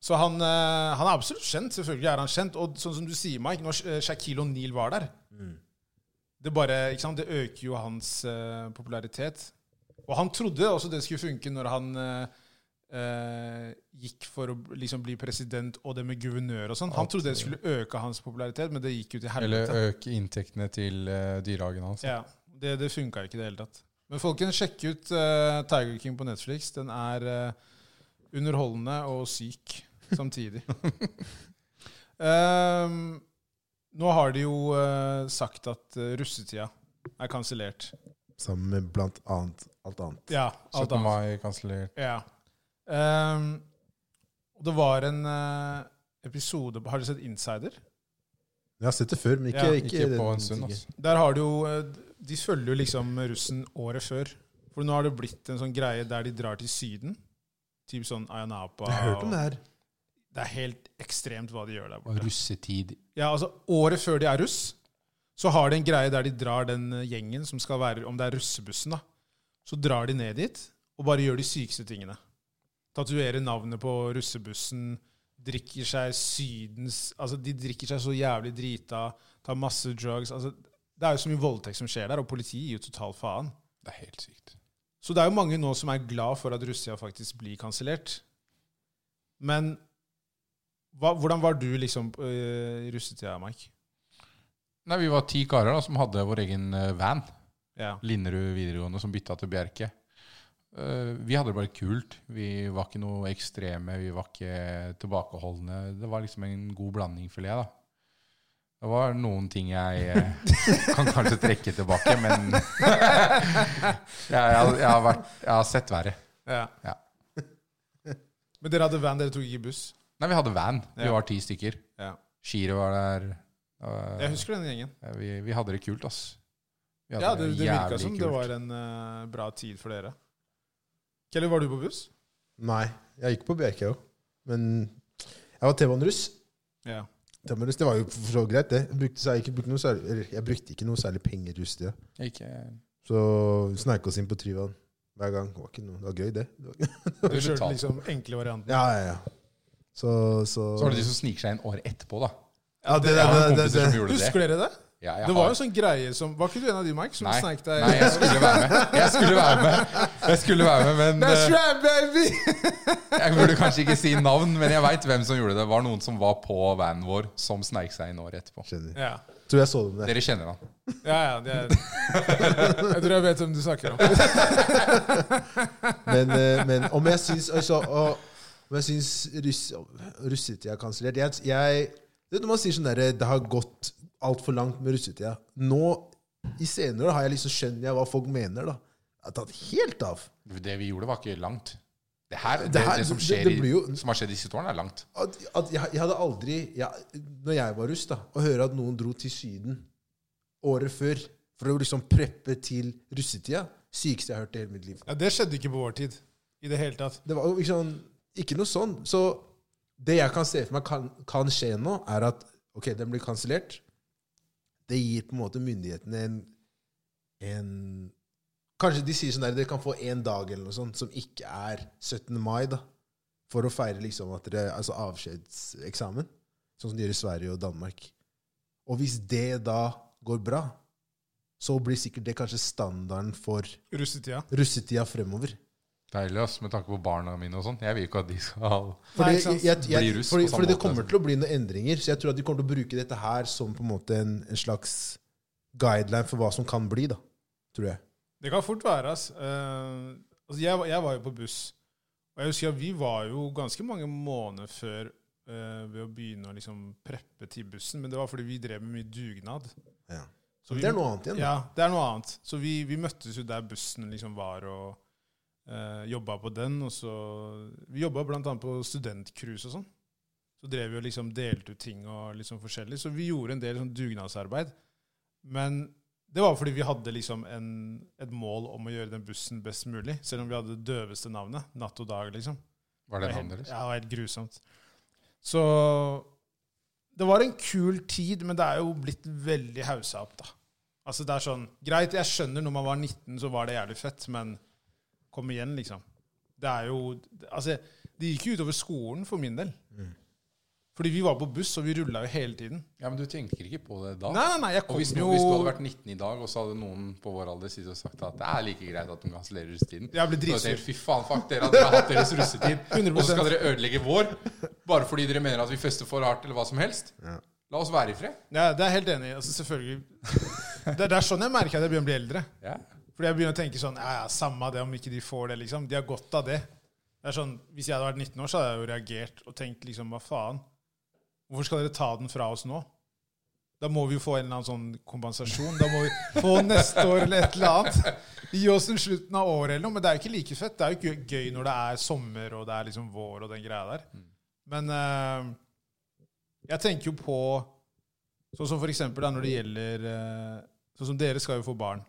Så han, eh, han er absolutt kjent. Selvfølgelig er han kjent. Og sånn som du sier, Mike, når eh, Shaquille O'Neal var der det, bare, ikke sant? det øker jo hans eh, popularitet. Og han trodde også det skulle funke når han eh, eh, gikk for å bl- liksom bli president og det med guvernør og sånn. Han trodde det skulle øke hans popularitet, men det gikk jo til
Eller
helvete.
øke inntektene til eh, dyrehagen hans.
Ja, det, det funka ikke i det hele tatt. Men folkens, sjekk ut eh, Tiger King på Netflix. Den er eh, underholdende og syk samtidig. Ehm, nå har de jo eh, sagt at eh, russetida er kansellert.
Sammen med blant annet alt annet.
Ja,
17. mai kansellert.
Ja. Ehm, og det var en eh, episode på- Har dere sett Insider?
Jeg har sett det før, men ikke,
Ja,
ikke,
Ikke
den
på en stund,
tingen.
altså.
Der har du jo eh, De følger jo liksom russen året før. For nå har det blitt en sånn greie der de drar til Syden. Typ sånn Ayanapa.
Jeg har hørt om det her.
og- det er helt ekstremt hva de gjør der
Og
borte.
Russetid.
Ja, altså Året før de er russ, så har de en greie der de drar den eh, gjengen som skal være Om det er russebussen, da. Så drar de ned dit og bare gjør de sykeste tingene. Tatoverer navnet på russebussen, drikker seg Sydens Altså, de drikker seg så jævlig drita, tar masse drugs altså det er jo så mye voldtekt som skjer der, og politiet gir jo total faen.
Det er helt sykt.
Så det er jo mange nå som er glad for at Russia faktisk blir kansellert. Men hva, hvordan var du liksom øh, i russetida, Mike?
Nei, Vi var ti karer da, som hadde vår egen eh, van.
Ja.
Linderud videregående som bytta til Bjerke. Eh, Vi hadde det bare kult. Vi var ikke noe ekstreme, vi var ikke tilbakeholdne. Det var liksom en god blanding, føler jeg. da. Det var noen ting jeg eh, kan kanskje trekke tilbake, men jeg, jeg, jeg, har vært, jeg har sett verre.
ja.
Ja.
Men dere hadde van, dere tok ikke buss?
Nei, vi hadde van. Vi
Ja.
var ti stykker.
Ja.
Shire var der. Eh,
Jeg husker den gjengen.
vi, vi hadde det kult, ass. Vi
Ja, Det, det virka som det
kult.
var en øh, bra tid for dere. Kelly, var du på buss?
Nei, jeg gikk på Bjerke òg. Men jeg var T-baneruss.
Ja.
T-baneruss, Det var jo for så vidt greit, det. Jeg brukte, sær- ikke, brukte noe særlig, eller, jeg brukte ikke noe særlig penger russ det.
Ikke,
Så vi sneik oss inn på Tryvann hver gang. Det var, ikke noe, det var gøy, det. det var,
Du
betalte.
kjørte liksom enkle varianten.
ja, ja, ja. Så, så,
Så var det de som sniker seg inn året etterpå, da.
Ja, det, det,
Jeg har
det,
noen
det,
kompiser
det,
som gjorde det.
Husker dere det?
Ja, jeg
Det var
har-
jo sånn greie som Var ikke du en av de, Mike, som
Nei,
sneik deg
nei, jeg skulle være med. Jeg skulle være med, jeg skulle være med men
That's
eh,
right, baby!
Jeg burde kanskje ikke si navn, men jeg veit hvem som gjorde det. Det var noen som var på vanen vår, som sneik seg inn året etterpå.
Skjønner.
Ja,
Tror jeg så dem der.
Dere kjenner han.
ja, ja det er, Jeg tror jeg vet hvem du snakker om.
Men, eh, men om jeg syns altså, å- Om jeg syns russ, russetida er kansellert jeg, jeg, det er Når man sier sånn derre Det har gått altfor langt med russetida Nå, i senere, har jeg liksom skjønner jeg hva folk mener, da. Jeg har tatt helt av.
Det vi gjorde, var ikke langt. Det, her, det,
Det her-
det som,
det-
skjer
det blir jo-
i, som har skjedd de siste årene, er langt.
at, at jeg, jeg hadde aldri jeg, Når jeg var russ, da, å høre at noen dro til Syden året før for å liksom preppe til russetida Sykeste jeg har hørt i hele mitt liv.
Ja, det skjedde ikke på vår tid. I det hele tatt.
Det var jo ikke, sånn, ikke noe sånn. Så det jeg kan se for meg kan, kan skje nå, er at ok, den blir kansellert. Det gir på en måte myndighetene en, en Kanskje de sier sånn der, dere kan få én dag eller noe sånt som ikke er 17. mai, da. For å feire liksom at dere, altså avskjedseksamen. Sånn som de gjør i Sverige og Danmark. Og hvis det da går bra, så blir sikkert det kanskje standarden for
Russetida.
russetida fremover.
Deilig, ass, med tanke på barna mine og sånn. Jeg vil ikke at de skal
Nei,
Fordi,
ikke sant?
jeg, jeg,
Blir russ på
fordi,
samme
fordi det
måte,
kommer
liksom.
til å bli noen endringer, så jeg tror at de kommer til å bruke dette her som på en måte en, en slags guideline for hva som kan bli, da. Tror jeg.
Det kan fort være, ass. Eh, altså jeg, var- jeg var jo på buss. Og jeg husker at vi var jo ganske mange måneder før eh, ved å begynne å liksom preppe til bussen. Men det var fordi vi drev med mye dugnad.
Ja.
Så vi-
det er noe annet igjen. da.
Ja, det er noe annet. Så vi, vi møttes jo der bussen liksom var, og eh, jobba på den. Og så Vi jobba blant annet på studentcruise og sånn. Så drev vi og liksom delte ut ting og liksom forskjellig. Så vi gjorde en del sånn dugnadsarbeid. Men det var fordi vi hadde liksom en, et mål om å gjøre den bussen best mulig. Selv om vi hadde det døveste navnet. Natt og dag, liksom.
Var det
Det var helt-
navnet deres?
Ja, det var helt grusomt. Så det var en kul tid, men det er jo blitt veldig haussa opp, da. Altså, det er sånn Greit, jeg skjønner når man var 19, så var det jævlig fett, men kom igjen, liksom. Det er jo Altså, det gikk jo utover skolen for min del. Fordi vi var på buss, og vi rulla jo hele tiden.
Ja, men du tenker ikke på det da?
Nei, nei, nei, jeg
Og
kom
hvis,
jo
noen, hvis du hadde vært 19 i dag, og så hadde noen på vår alder sittet og sagt at det er like greit at de kansellerer russetiden
Jeg ble
Så hadde jeg
dritsur.
tenkt, Fy faen, fuck dere at dere har hatt deres russetid, og
100%.
så skal dere ødelegge vår bare fordi dere mener at vi fester for hardt eller hva som helst.
Ja.
La oss være i fred.
Ja, det er jeg helt enig i. Altså, selvfølgelig. Det er, det er sånn jeg merker at jeg begynner å bli eldre.
Ja.
Fordi jeg begynner å tenke sånn Ja, ja, samme det om ikke de får det, liksom. De har godt av det. Det er sånn, Hvis jeg hadde vært 19 år, så hadde jeg jo reagert og tenkt liksom Hva faen? Hvorfor skal dere ta den fra oss nå? Da må vi jo få en eller annen sånn kompensasjon. Da må vi få neste år eller et eller annet. Gi oss den slutten av året eller noe. Men det er jo ikke like fett. Det er jo ikke gøy når det er sommer og det er liksom vår og den greia der. Men eh, jeg tenker jo på Sånn som for eksempel da, når det gjelder eh, Sånn som dere skal jo få barn.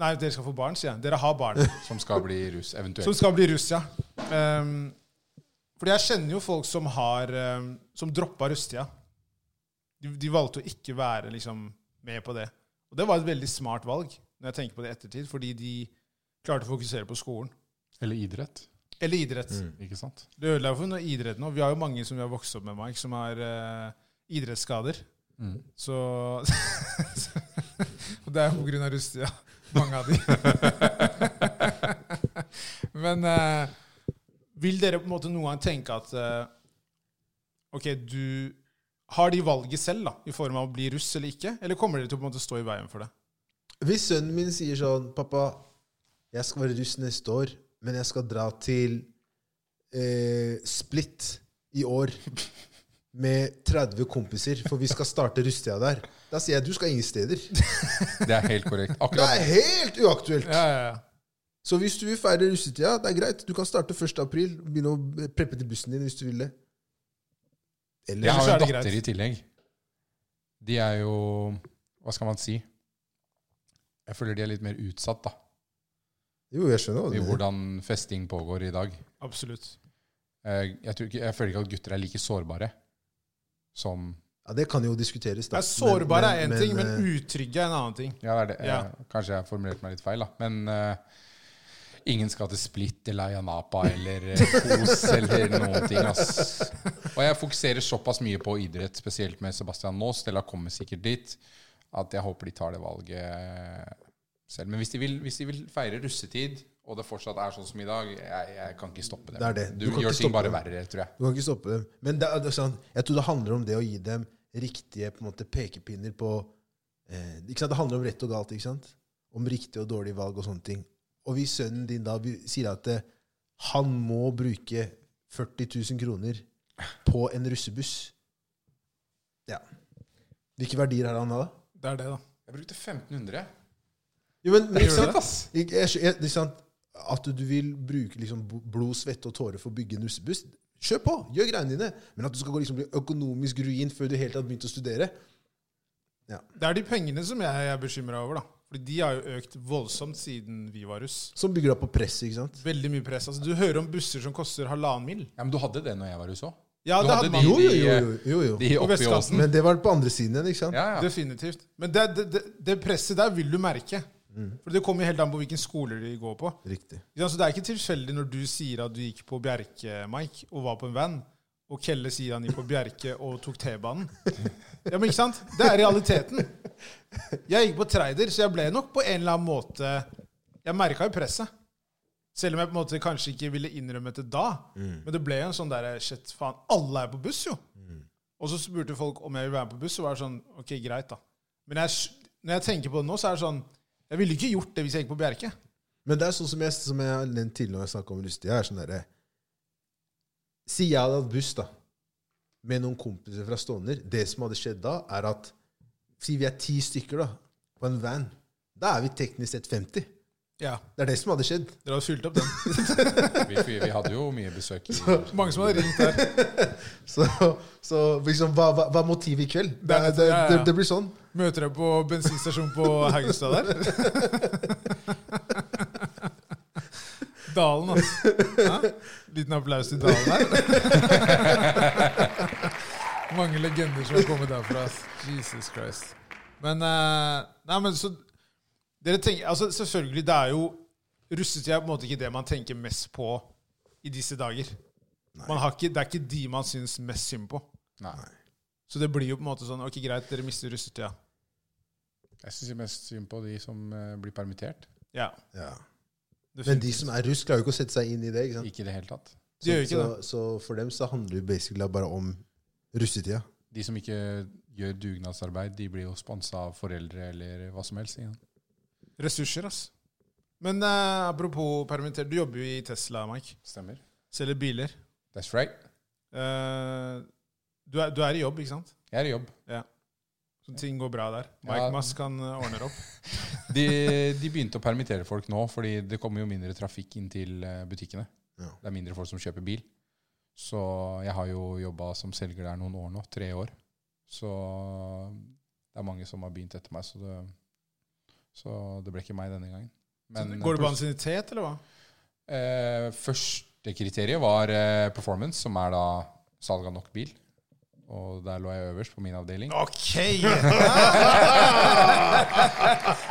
Nei, dere skal få barn, sier jeg. Dere har barn.
Som skal bli russ, eventuelt.
Som skal bli russ, ja. Um, fordi jeg kjenner jo folk som har um, Som droppa russetida. De, de valgte å ikke være liksom, med på det. Og det var et veldig smart valg, når jeg tenker på det i ettertid, fordi de klarte å fokusere på skolen.
Eller idrett.
Eller idrett.
Mm.
Ikke sant?
Det ødela jo for noe idrett nå. Vi har jo mange som vi har vokst opp med, Mike, som har eh, idrettsskader.
Mm.
Så Og det er jo på grunn av russetida, mange av de. Men eh, vil dere på en måte noen gang tenke at eh, Ok, du Har de valget selv, da, i form av å bli russ eller ikke? Eller kommer dere til å på en måte stå i veien for det?
Hvis sønnen min sier sånn 'Pappa, jeg skal være russ neste år, men jeg skal dra til eh, Split i år' med 30 kompiser, for vi skal starte russetida der. Da sier jeg 'du skal ingen steder'.
Det er helt korrekt.
Det
Akkurat
er helt uaktuelt!
Ja, ja, ja.
Så hvis du vil feire russetida, det er greit. Du kan starte 1. april. Begynne å preppe til bussen din hvis du vil det. Eller
Jeg
Ellers
har jo
er
en
det
datter
greit.
i tillegg. De er jo Hva skal man si? Jeg føler de er litt mer utsatt da,
Jo, jeg skjønner hva du
i
mener.
hvordan festing pågår i dag.
Absolutt.
Eh, Jeg, tror ikke, jeg føler ikke at gutter er like sårbare som
Ja, det kan jo diskuteres, da.
Det er sårbare er
Men-
én
men-
ting,
eh,
men utrygge er en annen ting.
Ja, det er det.
Ja.
Jeg, kanskje jeg formulerte meg litt feil, da. Men eh, ingen skal til Split eller Ayanapa eller eh, Kos eller noen ting, ass. Og jeg fokuserer såpass mye på idrett, spesielt med Sebastian nå. Stella kommer sikkert dit. At jeg håper de tar det valget eh, selv. Men hvis de vil, hvis de vil feire russetid, og det fortsatt er sånn som i dag, jeg, jeg kan ikke stoppe det.
Det er det. Du
Du,
kan ikke
gjør ting
stoppe
bare
det.
verre, tror jeg.
Du kan ikke stoppe dem. Men det, er- det er sånn, jeg tror det handler om det å gi dem riktige på en måte, pekepinner på eh, ikke sant? Det handler om rett og galt. ikke sant? Om riktige og dårlige valg og sånne ting. Og hvis sønnen din da vi- sier at eh, han må bruke 40 000 kroner på en russebuss Ja. Hvilke verdier har han da?
Det er det, da.
Jeg brukte 1500.
Jo, men, men
Gjør
ikke
du
sant?
det?
Ass.
Jeg, jeg, jeg, ikke sant? At du vil bruke liksom bo- blod, svette og tårer for å bygge en russebuss Kjør på! Gjør greiene dine. Men at du skal gå liksom bli økonomisk ruin før du helt har begynt å studere
Det er de pengene som jeg er bekymra over, da. Fordi de har jo økt voldsomt siden vi var russ.
Som bygger deg på presset, ikke sant?
Veldig mye press. Altså, du hører om busser som koster halvannen mil.
Ja, men du hadde det når jeg var russ òg.
Ja,
Du
det
hadde
hadde man.
de-
Jo, jo, jo. jo, jo, jo.
De oppe i
Vestkanten.
åsen.
Men det var på andre siden igjen, ikke sant?
Ja, ja.
Definitivt. Men det, det, det, det presset der vil du merke. For det kommer jo helt an på hvilken skole de går på.
Riktig.
Ikke sant? Så det er ikke tilfeldig når du sier at du gikk på Bjerke, Mike, og var på en van, og Kelle sier han gikk på Bjerke og tok T-banen. Ja, men ikke sant? Det er realiteten. Jeg gikk på Treider, så jeg ble nok på en eller annen måte Jeg merka jo presset. Selv om jeg på en måte kanskje ikke ville innrømmet det da. Men det ble jo en sånn derre Shit, faen, alle er på buss, jo! Og så spurte folk om jeg ville være med på buss, og var det sånn Ok, greit, da. Men jeg, når jeg tenker på det nå, så er det sånn Jeg ville ikke gjort det hvis jeg gikk på Bjerke.
Men det er sånn som jeg, som jeg har nevnt tidligere når jeg snakket om rustig, jeg er sånn derre Si jeg hadde hatt buss, da, med noen kompiser fra Stovner. Det som hadde skjedd da, er at Si vi er ti stykker, da, på en van. Da er vi teknisk sett 50.
Ja,
Det er det som hadde skjedd.
Dere hadde fylt opp den.
Vi, vi, vi hadde jo mye besøk. i-
Mange som hadde ringt der.
Så, så liksom, hva, hva, hva er motivet i kveld? Det,
Det er-
det,
ja, ja.
det, det blir sånn.
Møter deg på bensinstasjonen på Haugstad der. Dalen, altså. Hæ? Liten applaus til Dalen her. Mange legender som har kommet derfra. ass. Jesus Christ. Men eh, Nei, men så Dere tenker Altså, selvfølgelig, det er jo Russetida er på en måte ikke det man tenker mest på i disse dager. Man har ikke, det er ikke de man syns mest synd på.
Nei.
Så det blir jo på en måte sånn Ok, greit, dere mister russetida.
Jeg syns mest synd på de som eh, blir permittert.
Ja.
Men de som er russ, klarer jo ikke å sette seg inn i det. ikke sant?
Ikke i det hele tatt.
De gjør jo ikke
så,
det.
så for dem så handler det basically bare om russetida.
De som ikke gjør dugnadsarbeid, de blir jo sponsa av foreldre eller hva som helst. ikke sant?
Ressurser, ass. Men eh, apropos permittert, du jobber jo i Tesla, Mike.
Stemmer.
Selger biler.
That's right.
Eh, du, er, du er i jobb, ikke sant?
Jeg er i jobb.
Så ting går bra der. Mike
Ja.
Mass kan eh, ordne det opp.
De, de begynte å permittere folk nå, fordi det kommer jo mindre trafikk inn til eh, butikkene.
Ja.
Det er mindre folk som kjøper bil. Så jeg har jo jobba som selger der noen år nå. Tre år. Så det er mange som har begynt etter meg, så det, så det ble ikke meg denne gangen. Men-
Går det på ansiennitet, eller hva?
Eh, første kriteriet var eh, performance, som er da salg av nok bil. Og der lå jeg øverst på min avdeling.
OK!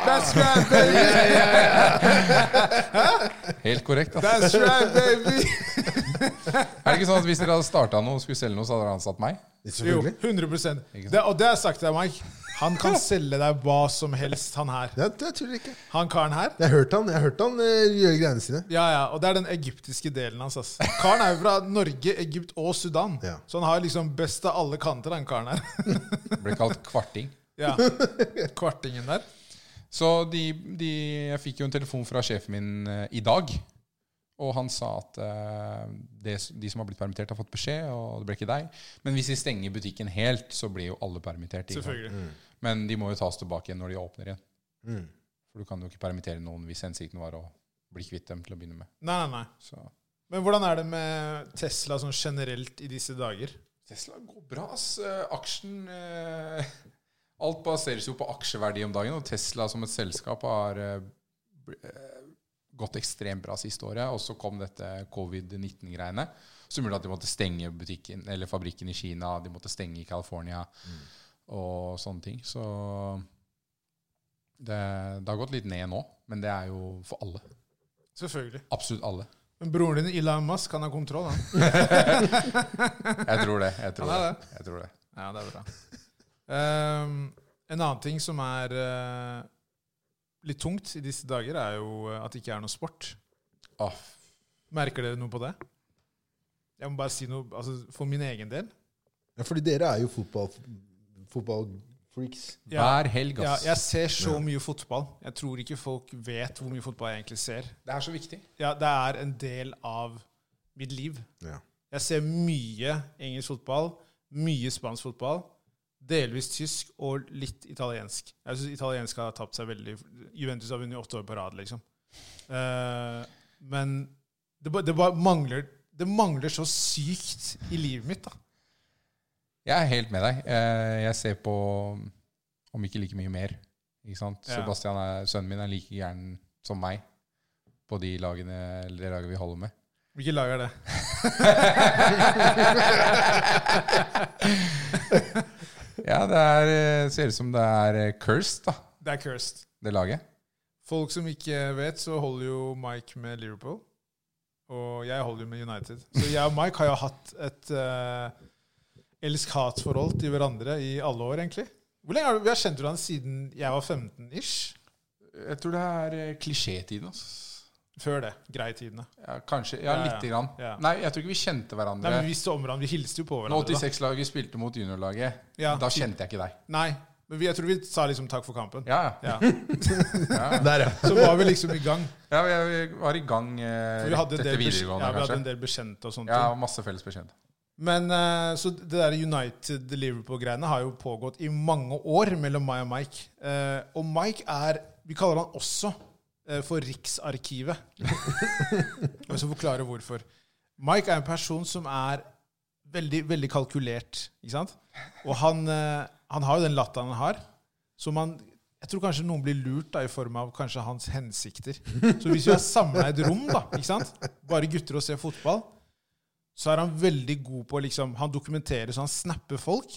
That's right, baby! Helt korrekt. ass.
That's right, baby!
Er det ikke sånn at Hvis dere hadde starta noe og skulle selge noe, så hadde dere ansatt meg?
Jo,
Selvfølgelig.
100
Ikke sant?
det, Og det har jeg sagt til deg, Mike. Han kan selge deg hva som helst, han her.
Ja, det tror jeg ikke.
Han karen her.
Jeg har hørt han, jeg har hørt han eh, gjøre greiene sine.
Ja, ja, og det er den egyptiske delen hans. ass. Karen er jo fra Norge, Egypt og Sudan.
Ja.
Så han har liksom best av alle kanter, den karen her.
Ble kalt kvarting.
Ja. Kvartingen der.
Så de, de, jeg fikk jo en telefon fra sjefen min eh, i dag. Og han sa at eh, det, de som har blitt permittert, har fått beskjed, og det ble ikke deg. Men hvis de stenger butikken helt, så blir jo alle permittert. ikke sant?
Selvfølgelig.
Mm.
Men de må jo tas tilbake igjen når de åpner igjen. For du kan jo ikke permittere noen hvis hensikten var å bli kvitt dem til å begynne med.
Nei, nei, nei.
Så
Men hvordan er det med Tesla sånn generelt i disse dager?
Tesla går bra, ass. Eh, Aksjen eh, Alt baseres jo på aksjeverdi om dagen, og Tesla som et selskap har eh, bl- eh, gått ekstremt bra siste året. Og så kom dette covid-19-greiene, som gjorde at de måtte stenge butikken, eller fabrikken i Kina, de måtte stenge i California og sånne ting. Så det, det har gått litt ned nå, men det er jo for alle.
Selvfølgelig.
Absolutt alle.
Men Men broren din, Elon Musk, han har kontroll, han.
Jeg tror det. Jeg tror
Han er
det. Jeg tror det.
Ja, det er bra. Ehm, en annen ting som er eh, litt tungt i disse dager, er jo eh, at det ikke er noe sport.
Å, f-
Merker dere noe på det? Jeg må bare si noe altså, for min egen del.
Ja, fordi dere er jo fotball, fotballfreaks.
Ja,
Hver helg,
ja,
ass.
jeg ser så mye fotball. Jeg tror ikke folk vet hvor mye fotball jeg egentlig ser.
Det er så viktig.
Ja, det er en del av mitt liv.
Ja.
Jeg ser mye engelsk fotball, mye spansk fotball, delvis tysk og litt italiensk. Jeg syns italiensk har tapt seg veldig. Juventus har vunnet åtte år på rad, liksom. Eh, men det, ba- det bare mangler Det mangler så sykt i livet mitt, da.
Jeg er helt med deg. Eh, Jeg ser på om ikke like mye mer. Ikke sant?
Ja.
Sebastian, er, sønnen min, er like gæren som meg på de lagene, eller det laget vi holder med.
Hvilket lag er det?
Ja, det er, eh, ser ut som det er eh, cursed, da,
Det er cursed.
det laget.
Folk som ikke vet, så holder jo Mike med Liverpool. Og jeg holder jo med United. Så jeg og Mike har jo hatt et uh, elsk-hat-forhold til hverandre i alle år, egentlig. Hvor lenge har du, Vi har kjent hverandre siden jeg var 15-ish.
Jeg tror det er eh, klisjétiden. ass.
Før det. Greie tidene.
Ja, kanskje. Ja,
Ja, ja.
lite grann.
Ja.
Nei, jeg tror ikke vi kjente
Nei,
hverandre.
men Vi visste om hverandre. Vi hilste jo på
Når
hverandre.
86-laget spilte mot juniorlaget,
Da. Ja.
da kjente jeg ikke deg.
Nei, men vi, jeg tror vi sa liksom takk for kampen.
Ja, ja.
Ja.
Der, ja.
Så var vi liksom i gang.
ja vi, vi var i gang eh,
For vi hadde en
rett etter
del, bes-
videregående,
ja, vi hadde en
kanskje.
del bekjente og sånne
Ja,
ting.
masse felles bekjente.
Men eh, Så det der United-Liverpool-greiene har jo pågått i mange år mellom meg og Mike. Eh, og Mike er Vi kaller han også eh, for Riksarkivet. Jeg skal forklare hvorfor. Mike er en person som er veldig, veldig kalkulert. Ikke sant? Og han, eh, han har jo den latteren han har. Som han Jeg tror kanskje noen blir lurt da i form av kanskje hans hensikter. Så hvis vi har samla et rom, da, ikke sant? bare gutter og ser fotball, så er han veldig god på å liksom, Han dokumenterer, så han snapper folk.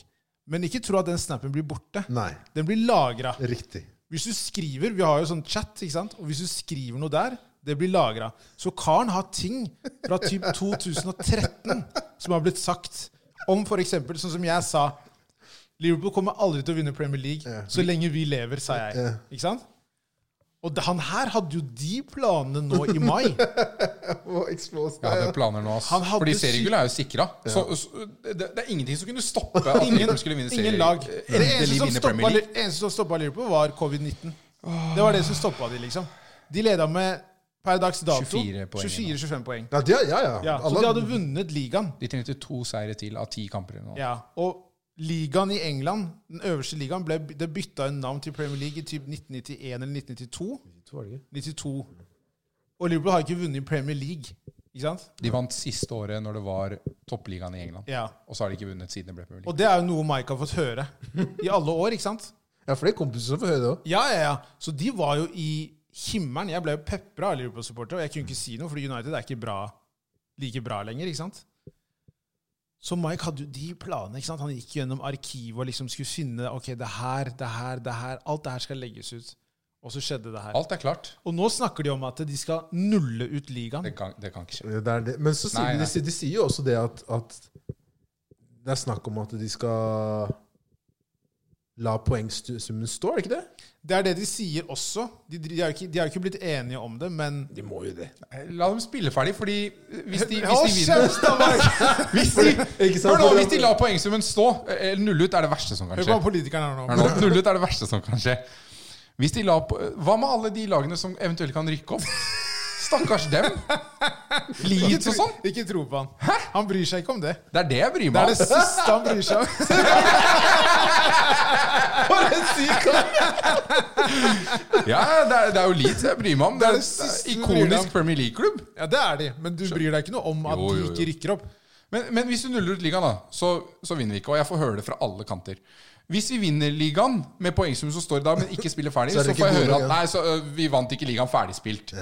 Men ikke tro at den snappen blir borte.
Nei,
Den blir lagra.
riktig.
Hvis du skriver Vi har jo sånn chat, ikke sant? Og hvis du skriver noe der, det blir lagra. Så karen har ting fra typ 2013 som har blitt sagt om f.eks. sånn som jeg sa Liverpool kommer aldri til å vinne Premier League så lenge vi lever, sa jeg. Ikke sant? Og det, han her hadde jo de planene nå i mai.
Og exposed.
Jeg hadde planer nå, ass.
Han hadde
Fordi
sy-
seriegull er jo sikra. Så, så det, det er ingenting som kunne stoppe at
Ingen,
Liverpool skulle vinne Eh,
ingen
serien.
lag. Det eneste
Endelig
som
vinne
stoppa
Premier League.
Li- eneste som stoppa Liverpool, var covid-19. Det var det som stoppa de, liksom. De leda med per dags dato
24 poeng nå.
24-25 poeng.
Ja, de, ja, ja.
Ja, så
Alle-
de hadde vunnet ligaen.
De trengte to seire til av ti kamper. Nå.
Ja, og ligaen i England, den øverste ligaen, ble, det bytta en navn til Premier League i typ 1991 eller 1992.
To var det ikke?
92. Og Liverpool har ikke vunnet i Premier League, ikke sant?
De vant siste året når det var toppligaen i England.
Ja.
Og så har de ikke vunnet siden det ble Premier League.
Og det er jo noe Mike har fått høre i alle år, ikke sant?
Ja, for det er kompiser som får høre det òg.
Ja, ja, ja. Så de var jo i himmelen. Jeg ble jo pepra av Liverpool-supportere, og jeg kunne ikke si noe, fordi United er ikke bra, like bra lenger, ikke sant? Så Mike hadde jo de planene. ikke sant? Han gikk gjennom arkivet og liksom skulle finne ok, det her, det her, det her. Alt det her skal legges ut. Og så skjedde det her.
Alt er klart.
Og nå snakker de om at de skal nulle ut ligaen.
Det kan, det kan ikke skje.
Det er det. Men så sier
Nei,
de,
nei.
de, sier- de sier jo også det at, at det er snakk om at de skal la poengsummen stå, er det ikke det?
Det er det de sier også. De, de, er, jo ikke, de er jo ikke blitt enige om det, men
De må jo det.
La dem spille ferdig, fordi hvis de,
Hold
hvis de vinner
kjeft, da, Mike!
hvis de,
Ikke sant?
Hør nå,
For-
hvis de lar poengsummen stå eh, Null ut er det verste som kan
Hør
skje.
på hva politikeren er nå.
Hør nå, Null ut er det verste som kan skje. Hvis de la på, hva med alle de lagene som eventuelt kan rykke opp? Stakkars dem! Leeds og sånn.
Ikke tro på han. Han bryr seg ikke om det.
Det er det jeg bryr
Det
meg
er det
om.
siste han bryr seg om.
For en syk kamp!
Ja, det er, det er jo Leeds jeg bryr meg om.
Det
Det
er
er
det siste
en
du bryr deg om.
ikonisk Premier League-klubb.
Ja, det er de, men du bryr deg ikke noe om at
Jo, jo,
de
jo.
ikke rykker opp.
Men, men hvis du nuller ut ligaen, da, så, så vinner vi ikke. Og jeg får høre det fra alle kanter. Hvis vi vinner ligaen med poengsum som står i dag, men ikke spiller ferdig,
Så
så,
er det ikke
får jeg
god
høre
nok,
at
ja.
nei, så, ø, vi vant ikke ligaen ferdigspilt.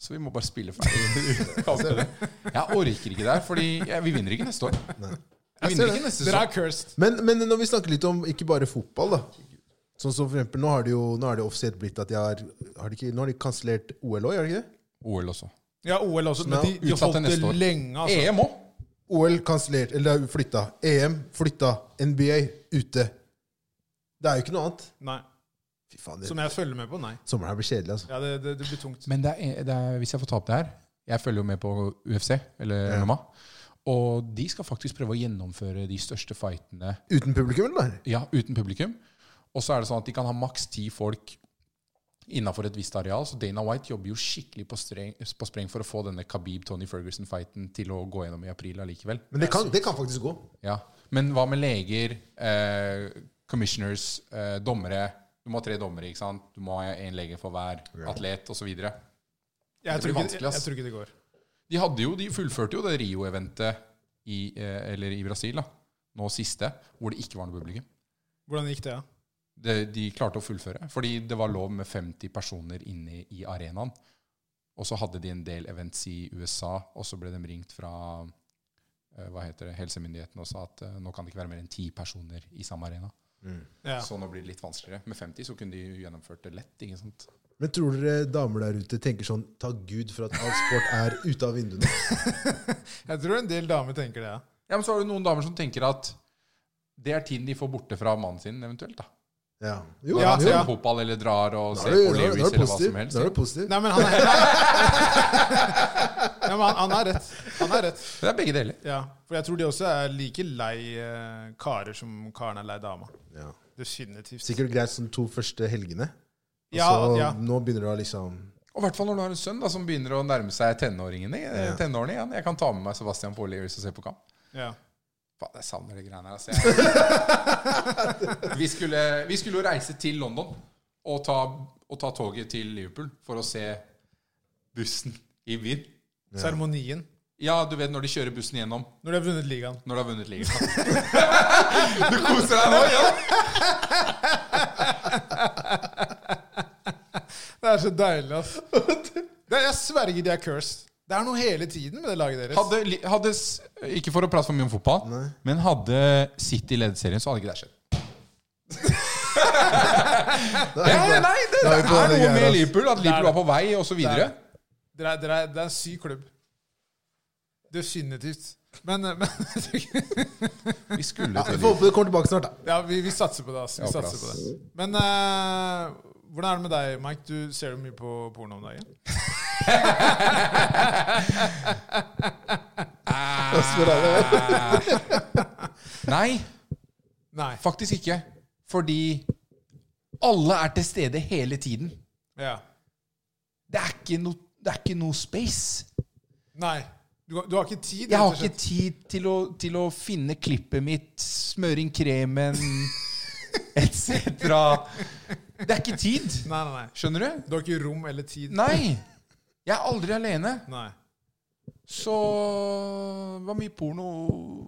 Så vi må bare spille ferdig. jeg orker ikke det her, for vi vinner ikke neste år. Vi vinner ikke neste
Dere
sesong.
er cursed.
Men, men når vi snakker litt om ikke bare fotball, da. Sånn som for eksempel, Nå har det jo nå er det offisielt blitt at de har, har de ikke, Nå har de kansellert OL òg, gjør de ikke det?
OL også. E
Ja, OL også. Men
Nå,
de, de
utsatt
holdt
til
det
neste år.
lenge,
Eh.
altså.
EM òg.
OL kansellert, eller flytta. EM flytta. NBA ute. Det er jo ikke noe annet.
Nei.
Fy faen, det,
Som jeg følger med på, nei.
sommeren her blir kjedelig, altså.
Ja, det, det, det blir tungt.
Men det er, det er, hvis jeg får ta opp det her Jeg følger jo med på UFC, eller
Ja.
MMA. Og de skal faktisk prøve å gjennomføre de største fightene
Uten publikum, eller?
ja, uten publikum. Og så er det sånn at de kan ha maks ti folk innafor et visst areal. Så Dana White jobber jo skikkelig på, streng, på spreng for å få denne Khabib-Tony Ferguson-fighten til å gå gjennom i april allikevel.
Men det kan, det kan faktisk gå.
Ja. Men hva med leger, eh, commissioners, eh, dommere? Du må ha tre dommere, ikke sant? Du må ha én lege for hver atlet, osv.
Jeg
det
tror,
blir
ikke,
vanskelig,
jeg,
ass.
jeg tror ikke det går.
De hadde jo, de fullførte jo det Rio-eventet i, eh, eller i Brasil, da. nå siste, hvor det ikke var noe publikum.
Hvordan gikk det, da?
Det, de klarte å fullføre, fordi det var lov med 50 personer inne i arenaen. Og så hadde de en del events i USA, og så ble de ringt fra eh, hva heter det, helsemyndighetene og sa at eh, nå kan det ikke være mer enn ti personer i samme arena.
Ja.
Så nå blir det litt vanskeligere. Med 50 så kunne de jo gjennomført det lett. ikke sant?
Men tror dere damer der ute tenker sånn Ta Gud for at all sport er ute av vinduene.
Jeg tror en del damer tenker det, ja.
Ja, Men så har du noen damer som tenker at det er tiden de får borte fra mannen sin, eventuelt. da.
Ja. Jo,
Når han
jo.
ser på fotball eller drar og
Da
ser
er du, da er
på
du
Lewis eller hva
positiv.
som helst.
Da er du positiv.
Nei, men han er Nei, men han, han har rett. Han har rett.
Det er begge deler.
Ja. For jeg tror de også er like lei eh, karer som karen er lei dama.
Ja.
Definitivt.
Sikkert greit som to første helgene. Og
Ja,
så
ja.
nå begynner det å liksom
Og i hvert fall når du har en sønn da, som begynner å nærme seg tenåringen i- eh,
Ja.
tenårene igjen. Jeg kan ta med meg Sebastian på Lewis og se på kamp.
Ja.
Faen, jeg savner de greiene her. Altså. Jeg... vi, skulle, vi skulle jo reise til London og ta, og ta toget til Liverpool for å se bussen i Wien.
Seremonien.
Ja, du vet når de kjører bussen gjennom
Når de har vunnet ligaen.
når de har vunnet ligaen. du koser deg nå, ja?
Det er så deilig, ass. Det er, jeg sverger de er cursed. Det er noe hele tiden med det laget deres.
Hadde, li- hadde, s- ikke for å prate for mye om fotball, men hadde City ledet serien, så hadde ikke det skjedd.
Nei,
Nei, nei, det,
Da er vi
det er
på den
noe
greia,
med
ass.
Liverpool, at
det.
Liverpool var på vei, og så videre.
Dere er, dere er, det er en syk klubb. Definitivt. Men, eh, men
Vi skulle
Ja, Vi
til
får håpe det kommer tilbake snart, da.
ja, vi, vi satser på det, ass. Vi
Ja,
satser på
plass.
det. Men eh, hvordan er det med deg, Mike? Du ser jo mye på porno om dagen.
Ah. Nei,
Nei.
faktisk ikke. Fordi alle er til stede hele tiden.
Ja.
Det er ikke noe det er ikke noe space.
Nei. Du, har- du har ikke tid?
Jeg har
rett og slett.
ikke tid til å, til å finne klippet mitt, smøre inn kremen etc. Det er ikke tid.
Nei, nei, nei.
Skjønner du?
Du har ikke rom eller tid?
Nei! Jeg er aldri alene.
Nei.
Så det var mye porno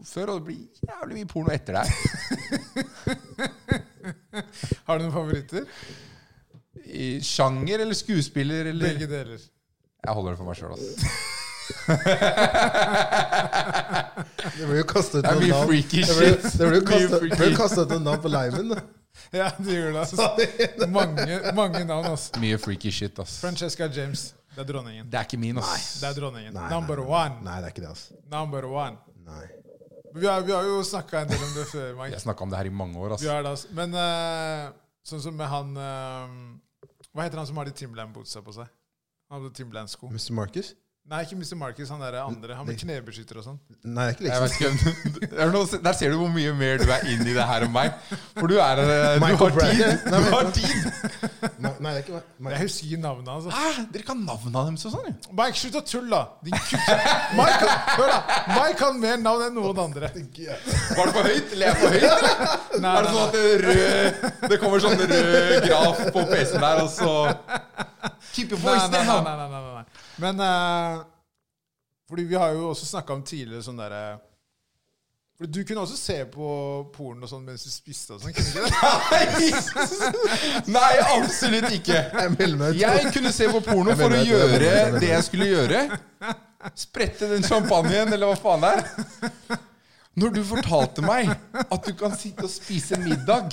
før, og det blir jævlig mye porno etter deg.
Har du noen favoritter?
I Sjanger eller skuespiller eller
Begge deler.
Jeg holder det for meg sjøl, altså.
Det ble jo kastet ut
Det er
noen
mye
navn.
freaky
Det ble,
shit.
det ble jo
Mye
kastet, det ble
freaky.
jo kastet ut noen navn på liven, da.
Ja, det gjør det. Altså. Mange, mange navn, altså.
Mye freaky shit, ass.
Francesca James. Det er dronningen.
Det er ikke min, ass.
Det er dronningen.
Nei, nei,
Number
nei,
one.
Nei, det er ikke det, altså.
Number one.
Nei.
Vi har, vi har jo snakka en del om det før, Mike.
Jeg snakka om det her i mange år, ass.
Vi har det, altså. Men eh, sånn som med han eh, Hva heter han som har de Timberland-bootsa på seg? Han hadde Timberland-sko.
Mr. Marcus?
Nei, ikke Mr. Marcus, han der andre. Han med knebeskytter og sånn.
Nei, det er ikke
Jeg
liksom
vet ikke, om- Det er noe- Der ser du hvor mye mer du er inni det her enn meg. For du er eh, Du
Michael
har
Bragg.
tid! Du har tid.
Nei, nei, det er ikke meg. Nei.
Jeg husker ikke navnet hans. altså.
Hæ? Dere kan navnene deres og sånn, jo.
Mike, slutt å tulle, da! Din kuk. Mike, kan- hør da. Mike kan mer navn enn noen andre.
Var det for høyt? Eller er jeg for høyt?
Nei,
Er det sånn at det, rød, det kommer sånn rød graf på PC-en der, og så Keep your
Nei,
voice
nei, nei,
down!
nei, nei, nei, nei. Men eh, Fordi vi har jo også snakka om tidligere sånn derre Fordi Du kunne også se på porno og sånn mens du spiste og sånn. kunne du ikke det?
Nei, absolutt ikke!
Jeg melder meg ut.
Jeg kunne se på porno for å
Jeg mener at det er
gjøre
veldig-
det jeg skulle gjøre. Sprette den champagnen, eller hva faen det er. Når du fortalte meg at du kan sitte og spise middag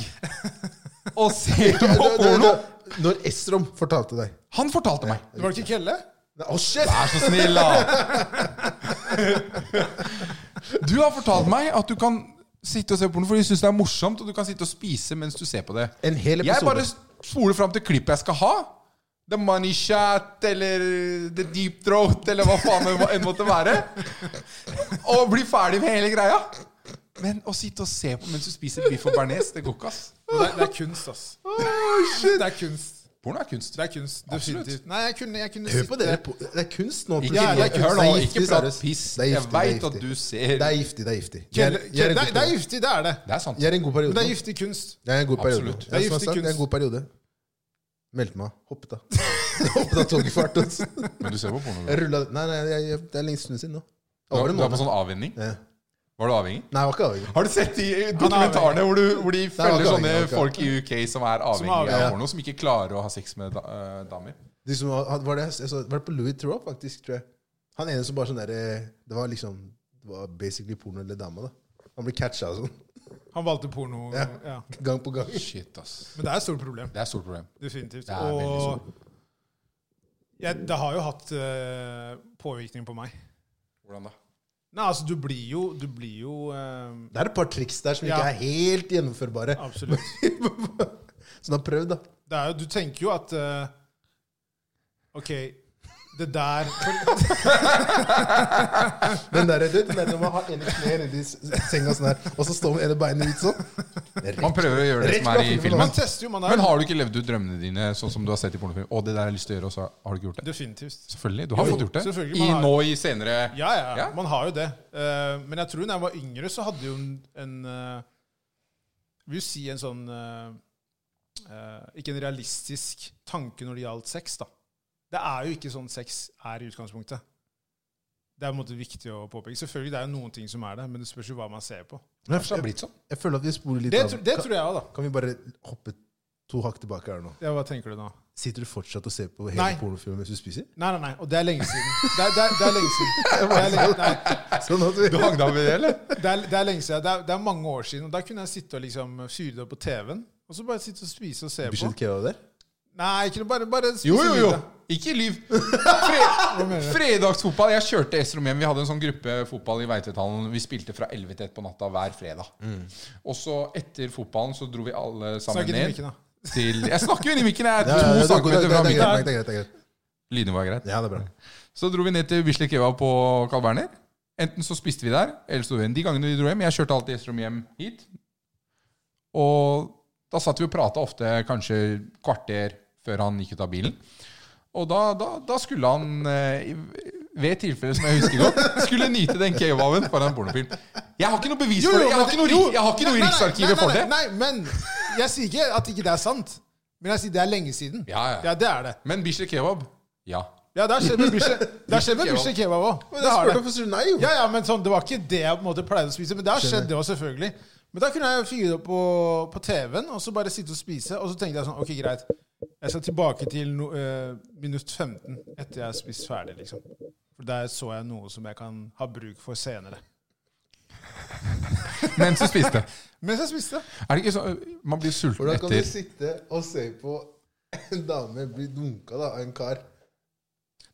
og se på
Du- du-
porno
du- Når Esrom fortalte deg
Han fortalte meg.
Det var ikke Kelle?
Å, shit!
Vær så snill, da! Du har fortalt meg at du kan sitte og se porno fordi du syns det er morsomt, og du kan sitte og spise mens du ser på det.
En hel
Jeg
episode.
bare spoler fram til klippet jeg skal ha. The Money Chat eller The Deep Throat eller hva faen det må- enn måtte være. Og bli ferdig med hele greia. Men å sitte og se på mens du spiser biff og bearnés, det går ikke, ass.
Det er, det er kunst, ass. Det er kunst.
Porno er kunst.
Det er kunst,
Absolutt.
definitivt. Nei, jeg kunne, jeg kunne
Hør på dere.
sittet-
på- Det er kunst nå.
Ikke,
plutselig.
det er kunst.
hør nå,
Det er
ikke
giftig,
prat
Sverres.
piss.
Det er
Jeg
giftig, det er
veit at
giftig.
du ser
Det er giftig, det er giftig. Jeg er-
Kjell-
jeg er
Kjell-
en
Det er-
god
det er
periode.
giftig, det er det.
Det er sant.
Jeg er en god periode.
Men det er
nå.
giftig kunst.
Jeg er en god periode.
Absolutt.
Det
Det er
er, som
giftig
sagt, jeg er en
kunst.
god periode. Meldte meg. Hoppet av. Hoppet av toget fart. altså.
Men du ser på porno.
Jeg rullet Nei, nei, jeg, jeg, det er lenge stund siden nå.
Du
Over
er,
en
du er på
måned.
sånn avvenning.
Ja.
Var du avhengig?
Nei, jeg var ikke avhengig.
Har du sett de dokumentarene hvor, du, hvor de
var
følger
ikke avhengig,
sånne
det var
folk i UK som er
Som
avhengige
er avhengig,
av
ja.
porno, som ikke klarer å ha sex med da, eh, damer?
De som var, var, det, jeg så, var det på Louis Theroux, faktisk, tror jeg. Han ene som bare sånn der eh, Det var liksom Det var basically porno eller dama, da. Han ble catcha og sånn.
Han valgte porno.
Ja.
Ja.
Gang på gang.
Shit, ass.
Men det er et stort problem.
Det er et stort problem.
Definitivt.
Det er veldig
og jeg, det har jo hatt eh, påvirkning på meg.
Hvordan da?
Nei, altså, du blir jo, du blir jo eh,
Det er et par triks der som
Ja.
ikke er helt gjennomførbare.
Absolutt.
Som har prøvd, da.
Det er jo, du tenker jo at eh, OK, det der for,
Den der, du, den der du må ha ene kneet nedi s- senga sånn her, og så står med ene beinet ut sånn. Det er
Man prøver å gjøre det
Rett
som er
fra
i
filmen,
Man
filmen.
tester jo, man
Men
er
har du ikke levd ut drømmene dine sånn som du har sett i pornofilm? Å, det der har jeg lyst til å gjøre, og så har du ikke gjort det?
Definitivt.
Selvfølgelig. Du har
Jo,
fått gjort det.
selvfølgelig,
I,
man har-
nå i senere
Ja, ja,
Ja.
Man har jo det. Eh, men jeg tror da jeg var yngre, så hadde jo en, en eh, Vil jo si en sånn eh, eh, Ikke en realistisk tanke når det gjaldt sex, da. Det er jo ikke sånn sex er i utgangspunktet. Det er på en måte viktig å påpeke. Selvfølgelig det er jo noen ting som er det, men det spørs jo hva man ser på.
Kanskje det har
Jeg,
blitt sånn.
jeg føler at vi spoler litt
Det,
av.
tr- det tror jeg òg, da.
Kan vi bare hoppe to hakk tilbake her nå?
Ja, hva tenker du nå?
Sitter du fortsatt og ser på hele
Nei.
pornofilmen mens du spiser?
Nei, nei, nei. Og det er lenge siden. Det er, det er, det er lenge siden. Det er, lenge, nei,
Sånn at vi,
Du hang deg med det, eller?
det er, det er lenge siden. Det er, det er mange år siden. Og da kunne jeg sitte og liksom fyre det opp på TV-en. Og så bare sitte og spise og se på.
Bishop Kebab der?
Nei, ikke noe, bare, bare spise
Jo, jo, jo.
middag.
Ikke lyv. Fre fredagsfotball. Jeg kjørte Estrom hjem. Vi hadde en sånn gruppe fotball i Veitvethallen. Vi spilte fra 11 til 1 på natta hver fredag.
Mm.
Og så etter fotballen så dro vi alle sammen
Snakk inn i
ned
mikken, da.
til Jeg snakker jo inn i mikken! Jeg er
Ja, ja,
to
ja, det,
centimeter
det,
fra
det,
mikken.
er greit, det er greit, det er greit.
Lydnivået er greit.
Ja, det er bra.
Så dro vi ned til Bislett Kebab på Carl Berner. Enten så spiste vi der, eller så dro vi hjem. De gangene vi dro hjem Jeg kjørte alltid Estrom hjem hit. Og da satt vi og prata ofte kanskje kvarter før han gikk ut av bilen. Og da, da, da skulle han, eh, i- ved et tilfelle som jeg husker godt, skulle nyte den kebaben foran en pornofilm. Jeg har ikke noe bevis for det. Jeg har ikke noe, ri- jeg har ikke noe i
Nei, nei, nei,
Riksarkivet for det.
Nei, nei, men jeg sier ikke at ikke det er sant. Men jeg sier det er lenge siden.
Ja, ja.
det er det.
Men Bislett Kebab, ja.
Ja, det har skjedd med Bislett Det har skjedd med Bislett Kebab òg. Det har det.
nei, jo.
Ja, ja, men sånn, det var ikke det jeg på en måte pleide å spise, men det har skjedd, det òg, selvfølgelig. Men da kunne jeg fyre opp på, på TV-en og så bare sitte og spise. Og så tenkte jeg sånn Ok, greit. Jeg skal tilbake til no, eh, minutt 15 etter jeg har spist ferdig, liksom. For der så jeg noe som jeg kan ha bruk for senere.
Mens du spiste.
Mens jeg spiste.
Er det ikke sånn Man blir sulten
Hvordan kan du
etter
sitte og se på en dame bli dunka da, av en kar?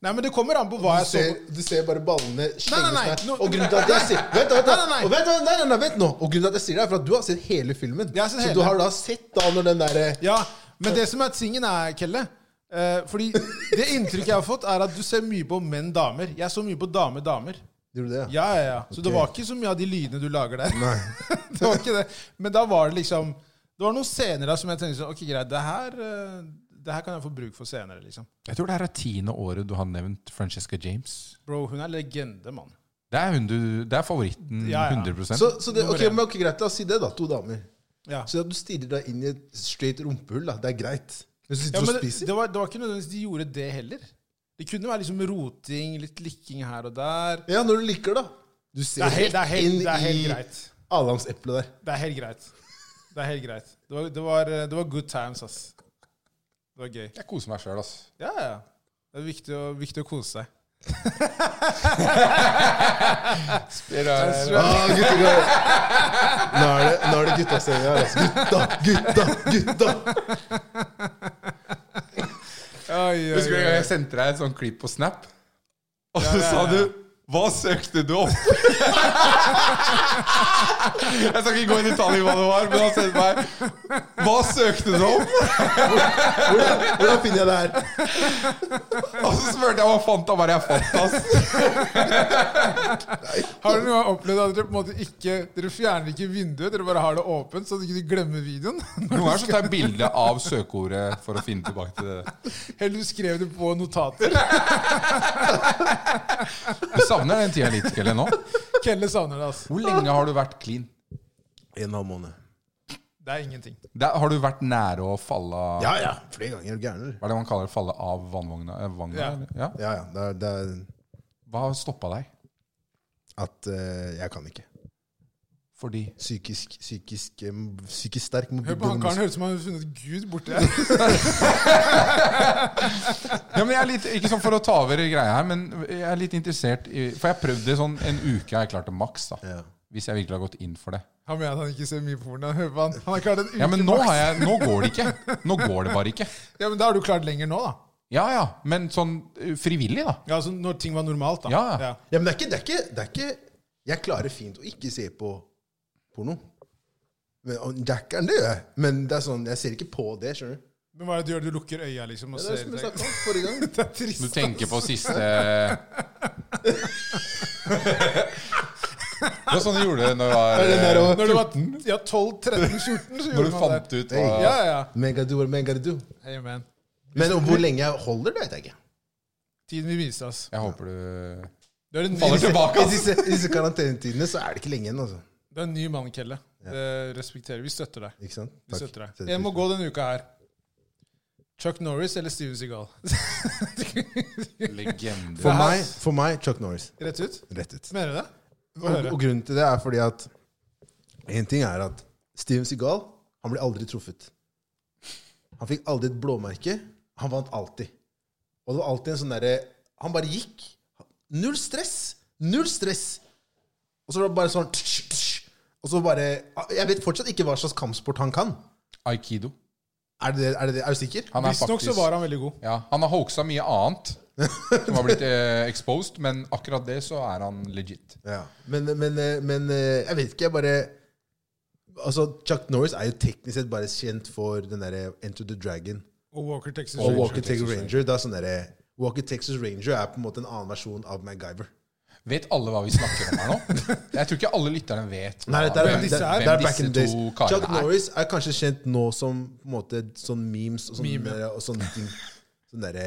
Nei, men det kommer an på hva
Du
jeg så
ser,
på.
du ser bare ballene slenge
nei,
seg.
nå-
Og grunnen til at jeg sier Vent, da, vent, da.
Nei, nei, nei.
Og vent, da, nei, nei, nei, vent nå. Og grunnen til at jeg sier det, er for at du har sett hele filmen.
Jeg har sett
så
hele.
du har da sett da når den derre
Ja, Men det som er tingen, er, Kelle eh, Fordi det inntrykket jeg har fått, er at du ser mye på menn-damer. Jeg så mye på dame-damer.
Gjorde du det?
Ja, ja, ja. Så det
Ok.
var ikke så mye av de lydene du lager der.
Nei.
det var ikke det. Men da var det liksom Det var noen scener da som jeg tenkte sånn Ok, greit, det her, eh, det her kan jeg få bruk for senere, liksom.
Jeg tror det her er tiende året du har nevnt Francesca James.
Bro, hun er legende, mann.
Det er, hun du, det er favoritten
Ja, ja.
100
Så, så det,
Nummer
ok,
én.
men ok, greit, da, si det, da. To damer.
Ja.
Så at du stirrer deg inn i et straight rumpehull, da. Det er greit. Men så
Ja,
sitter du
men
og
det,
spiser.
det, var, det var ikke nødvendigvis de gjorde det heller. Det kunne være liksom roting, litt likking her og der.
Ja, når du liker, da. Du
Det
ser
er helt, det er helt,
inn
det er helt
i
greit.
adamseplet der.
Det er helt greit. Det er helt greit. Det var, det var, eh, det var good times, ass. Det var gøy.
Jeg koser meg sjøl, altså.
Ja, ja. Det er viktig å, viktig å kose seg.
Spiller-
Ah, gutter, gutter. Nå er det, nå er det guttastemning her, altså. Gutta, gutta, gutta!
Oi, oi,
Husker du en gang
oi.
jeg sendte deg et sånt klipp på Snap? Og så sa du Hva søkte du opp? Jeg skal ikke gå inn i detalj i hva det var, men han sendte meg Hva søkte du opp?
Hvordan finner jeg det her?
Og så spurte jeg hva fant han var. Jeg fant ass.
Har dere noen gang opplevd at dere på en måte ikke Dere fjerner ikke vinduet, dere bare har det åpent, så dere ikke glemmer videoen?
Noen ganger så tar jeg bilde av søkeordet for å finne tilbake til det.
Eller du skrev det på notater.
Du savner den tida litt, Kelle, nå.
Kelle savner det, altså.
Hvor lenge har du vært clean?
En og en halv måned.
Det er ingenting.
Der, har du vært nære å falle av
Ja ja, flere ganger. Er du gæren, eller?
Hva er det man kaller det? Falle av vannvogna? eh, vogna,
Ja.
eller? Ja.
Ja ja. Det er, det er
Hva stoppa deg?
at eh, jeg kan ikke.
Fordi
Psykisk, psykisk, eh, psykisk sterk mobil-
Hør på han karen, høres ut som han har funnet Gud borti her.
Ja, men jeg er litt, Ikke sånn for å ta over greia her, men jeg er litt interessert i For jeg har prøvd det sånn en uke, har jeg klart det maks, da.
Ja.
Hvis jeg virkelig har gått inn for det.
Han mener at han ikke ser mye porno. Hør på han. Han har klart en uke
Ja, men nå,
bak.
har jeg, nå går det ikke. Nå går det bare ikke.
Ja, men da har du klart lenger nå, da.
Ja ja, men sånn eh, frivillig, da.
Ja, altså Når ting var normalt, da.
Ja.
Ja, men det er ikke, det er ikke, det er ikke Jeg klarer fint å ikke se på porno. Men, og Jackeren, det gjør jeg. Men det er sånn, jeg ser ikke på det, skjønner du.
Men hva er det du gjør? Du lukker øya, liksom? Og
Det er
ser
som
det,
jeg snakket om forrige gang.
det er trist.
Du tenker på siste Det var sånn du gjorde det når du var,
den der også?
Når du var ja, 12-13-14, så
når
gjorde
du
man
fant
det.
ut hva
Ja, ja.
Megadu eller Megadu.
Amen.
Men om hvor lenge jeg holder det, vet jeg ikke.
Tiden vil vise oss.
Jeg håper du
Du er en
Faller
ny,
tilbake.
I disse, i disse karantenetidene så er det ikke lenge igjen, altså.
du er en ny mann, Kelle. Det respekterer vi. Vi støtter deg.
Ikke sant?
Vi støtter deg.
Setter
En må
pris på
gå denne uka her. Chuck Norris eller Steven Seagal?
det.
Legende.
For meg, for meg Chuck Norris.
Rett ut?
Rett ut.
Mener du det? Få
Og,
høre.
og grunnen til det er fordi at En ting er at Steven Seagal han ble aldri truffet. Han fikk aldri et blåmerke. Han vant alltid. Og det var alltid en sånn derre Han bare gikk. Null stress! Null stress! Og så var det bare sånn tsk, tsk. Og så bare Jeg vet fortsatt ikke hva slags kampsport han kan.
Aikido.
Er, det, det- er, det, det- er du sikker?
Han er
Visstnok så
faktisk
var han veldig god.
Ja, Han har hoaxa mye annet som har blitt eh, exposed, men akkurat det så er han legit.
Ja. Men, men, men eh, jeg vet ikke, jeg bare Altså, Chuck Norris er jo teknisk sett bare kjent for den derre Enter the Dragon.
Og Walker Texas
Og
Ranger.
Walker Texas Ranger. Det er sånn derre Walker Texas Ranger er på en måte en annen versjon av MacGyver.
Vet alle hva vi snakker om her nå? Jeg tror ikke alle lytterne vet
Nei, det er,
hvem
det,
disse
er-
disse,
er.
det er
hvem
back in
disse
the days.
to
Chuck
karene er.
Norris er kanskje kjent nå som på en måte sånn memes og sånne, og sånne ting. Sånn derre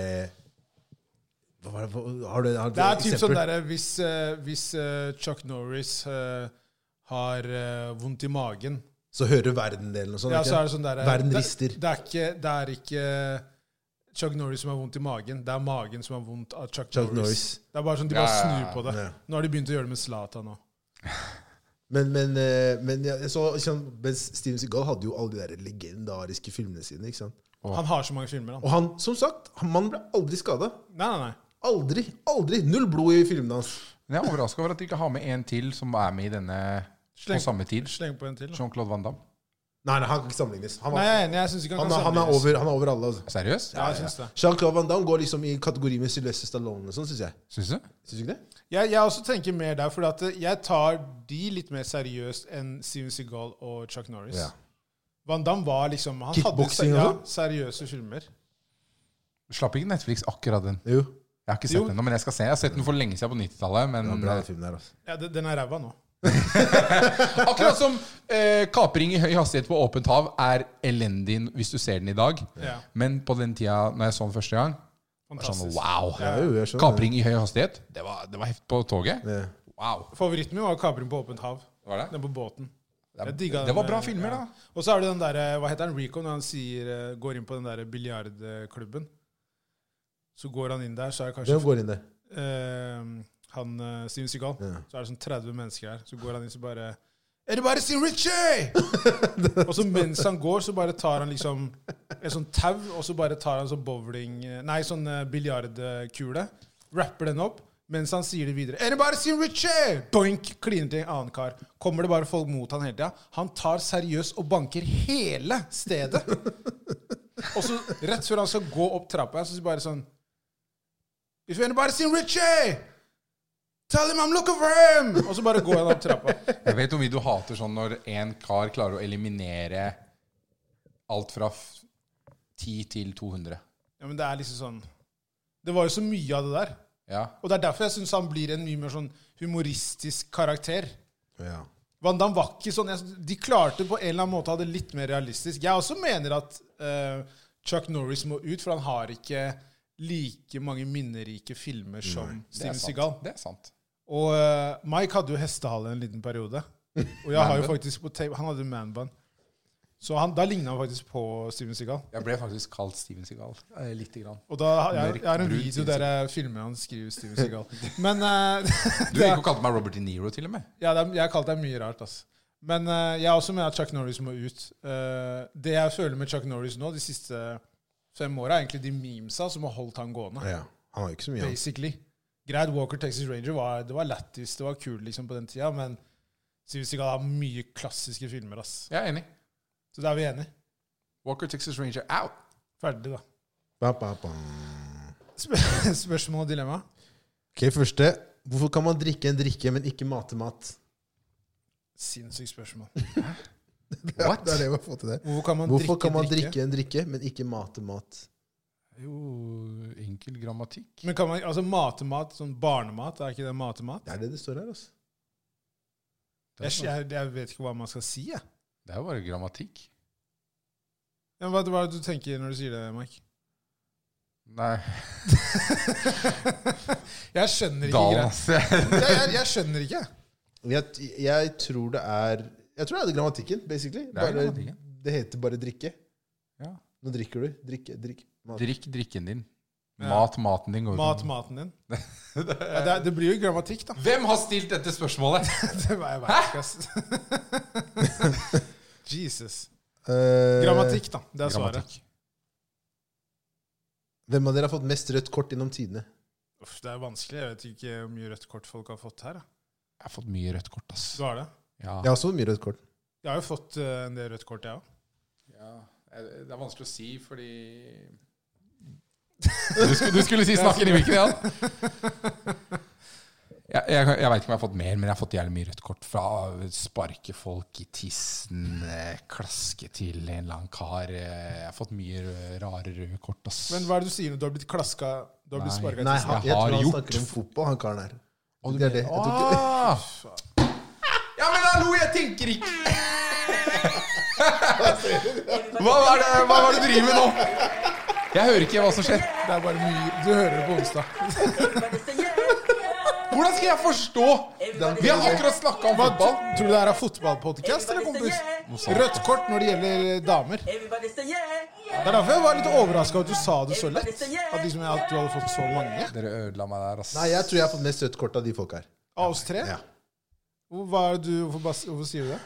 hva var det, hva- har du, har du
Det er typ sånn
eksempler?
derre hvis, eh, hvis eh, Chuck Norris eh, har eh, vondt i magen
Så hører verden det, eller noe sånt.
ja,
ikke?
så er det sånn derre-
verden
det-
rister.
Det, er ikke, det er ikke Chuck Norris som har vondt i magen, det er magen som har vondt av Chuck,
Chuck
Norris.
Norris.
Det er bare sånn De
Ja,
bare
ja,
snur
ja,
på det.
ja.
Nå har de begynt å gjøre det med Zlatan òg.
Men, men, eh, men ja, jeg så, sånn, mens Steven Seagal hadde jo alle de der legendariske filmene sine. ikke sant?
Han har så mange filmer, han.
Og han, som sagt, han, mannen ble aldri skada.
Nei, nei, nei.
Aldri! aldri. Null blod i filmene hans.
Men jeg er overraska over at de ikke har med en til som er med i denne
Sleng-
på samme tid.
Sleng på en til. da.
Jean-Claude Van Damme.
Nei, nei, han kan ikke sammenlignes. Han, var,
Nei, jeg er enig. Jeg syns ikke han
han,
kan
er, han, er,
sammenlignes.
over, han er over alle. altså.
Seriøst?
Ja, jeg synes det.
Jean-Claude Van Damme går liksom i kategori med Sylvester Stallone og sånn, syns jeg.
Syns du?
Synes du ikke det?
Jeg, jeg også tenker mer der, for at jeg tar de litt mer seriøst enn Steven Seagal og Chuck Norris.
Ja.
Van Damme var liksom Han
Kickboxing
hadde
og
ja, seriøse filmer.
Slapp ikke Netflix akkurat den.
Jo.
Jeg har ikke
Jo.
sett den nå, men jeg skal se. Jeg har sett den for lenge siden på 90-tallet. Men
Det var bra, den filmen der, altså.
Ja, de- Den er ræva nå.
akkurat som eh, kapring i høy hastighet på åpent hav er elendig hvis du ser den i dag.
Ja,
Men på den tida når jeg så den første gang, var det sånn
fantastisk.
wow.
Ja, jo, jeg skjønner.
Kapring i høy hastighet. Det var, det var heft på toget.
Ja.
Wow.
Favoritten min var 'Kapring på åpent hav'.
Var det?
Den på båten.
Det,
Jeg digga den,
var bra
eh,
filmer,
ja.
da.
Og så er det den derre Hva heter han Rico når han sier, eh, går inn på den derre biljardklubben? Så går han inn der, så er det
Hvem
kanskje
går inn der?
eh, han eh, Steven Seagal.
Ja.
Så er det sånn 30 mennesker her. Så går han inn så bare Everybody see Richie! og så mens han går, så bare tar han liksom et sånt tau, og så bare tar han sånn bowling Nei, sånn eh, biljardkule. Rapper den opp. Mens han sier det videre. Everybody see Richie! Doink! Kliner til en annen kar. Kommer det bare folk mot han hele tida? Han tar seriøst og banker hele stedet. og så rett før han skal gå opp trappa, her, så sier bare sånn If anybody seen Richie! Tell him I'm looking for him! Og så bare går han opp trappa.
Jeg vet hvor mye du hater sånn når en kar klarer å eliminere alt fra f- 10 til 200.
Ja, men det er liksom sånn Det var jo så mye av det der.
Ja.
Og det er derfor jeg syns han blir en mye mer sånn humoristisk karakter.
Ja.
Van Damme var ikke sånn jeg, De klarte på en eller annen måte å ha det litt mer realistisk. Jeg også mener at eh, Chuck Norris må ut, for han har ikke like mange minnerike filmer som
Det
Steven
er sant.
Seagal.
Det er sant.
Og eh, Mike hadde jo hestehale en liten periode. Og jeg har jo
Manbun.
faktisk på tape Han hadde manbun. Så han, da ligna han faktisk på Steven Seagal.
Jeg ble faktisk kalt Steven Seagal. Eh, Lite grann.
Og da har jeg, jeg har en
Mørk, brun
video
Steven
der jeg filmer han skriver Steven Seagal. Men eh,
Du gikk og kalte meg Robert De Niro, til og med.
ja, det er, jeg har kalt deg mye rart, ass. Men eh, jeg også mener at Chuck Norris må ut. Eh, det jeg føler med Chuck Norris nå, de siste fem åra, er egentlig de memesa som har holdt han gående.
ja. Han har jo ikke så mye, han.
basically. Greit, Walker Texas Ranger var, det var lættis, det var kult liksom, på den tida, men Steven Seagal har mye klassiske filmer. ass.
Jeg er enig.
Så da er vi enige.
Walker Texas Ranger out.
Ferdig, da.
Ba, ba, ba.
Sp- Spørsmål og dilemma?
Ok, første. Hvorfor kan man drikke en drikke, men ikke mate mat?
Sinnssykt spørsmål.
What?
Det er det vi har fått til der.
Hvorfor kan man,
Hvorfor
drikke,
kan man
drikke?
drikke en drikke, men ikke mate mat?
Jo, enkel grammatikk.
Men kan man, altså Matemat, sånn barnemat, er ikke det matemat?
Det er det det står her, altså.
Det
Jeg,
er,
jeg, jeg vet ikke hva man skal si. Jeg.
det er jo bare grammatikk.
Ja, hva, hva er det du tenker når du sier det, Mike?
Nei,
jeg skjønner ikke
dalen,
greit.
ass. Jeg
Jeg, jeg, jeg skjønner ikke.
Jeg, jeg tror det er Jeg tror det er det grammatikken, basically.
Det er
Bare,
grammatikken.
det heter bare drikke.
Ja.
Nå drikker du. Drikke, drikk. Mat.
Drikk drikken din.
Ja.
Mat maten din. går ut.
Mat maten din. Ja, det, er- det blir jo grammatikk, da.
Hvem har stilt dette spørsmålet?
Det var jeg vet ikke, ass. Jesus.
Eh,
Grammatikk, da. Det er svaret.
Grammatikk.
Hvem av dere har fått mest rødt kort gjennom tidene?
Uff, det er vanskelig. Jeg vet ikke hvor mye rødt kort folk har fått her. da.
Jeg har fått mye rødt kort, ass.
Du har det?
Ja.
Jeg har også fått mye rødt kort.
Jeg har jo fått eh, en del rødt kort, jeg òg. eh,
Det er vanskelig å si, fordi Du skulle, du skulle si 'snakk inn i mikken' igjen. Jeg, jeg, jeg veit ikke om jeg har fått mer, men jeg har fått jævlig mye rødt kort. Fra å sparke folk i tissen, eh, klaske til en eller annen kar. eh, Jeg har fått mye rø- rare røde kort, ass.
Men hva er det du sier når du har blitt klaska? Du har blitt
Nei.
sparka i
Nei,
tissen?
han,
Jeg
jeg
har
tror han
gjort-
snakker om fotball, han karen her.
Å, du
Det er det.
mener-
Jeg tok det.
Ah! Ja, men hallo, jeg tenker ikke Hva er det, hva er det du driver med nå? Jeg hører ikke hva som skjer.
Det er bare mye Du hører det på onsdag.
Hvordan skal jeg forstå? Vi har akkurat snakka om
Hva,
fotball.
tror du det her er fotballpodkast, eller, kompis? Rødt kort når det gjelder damer.
Everybody say yeah.
Det er derfor jeg var litt overraska at du sa det så lett. At, liksom, at du hadde fått så mange.
Dere ødela meg der, ass.
Nei, jeg tror jeg har fått mest rødt kort av de folk her.
Av oss tre?
Ja.
Hvor- Hva er det du, hvorfor, bas- hvorfor sier du det?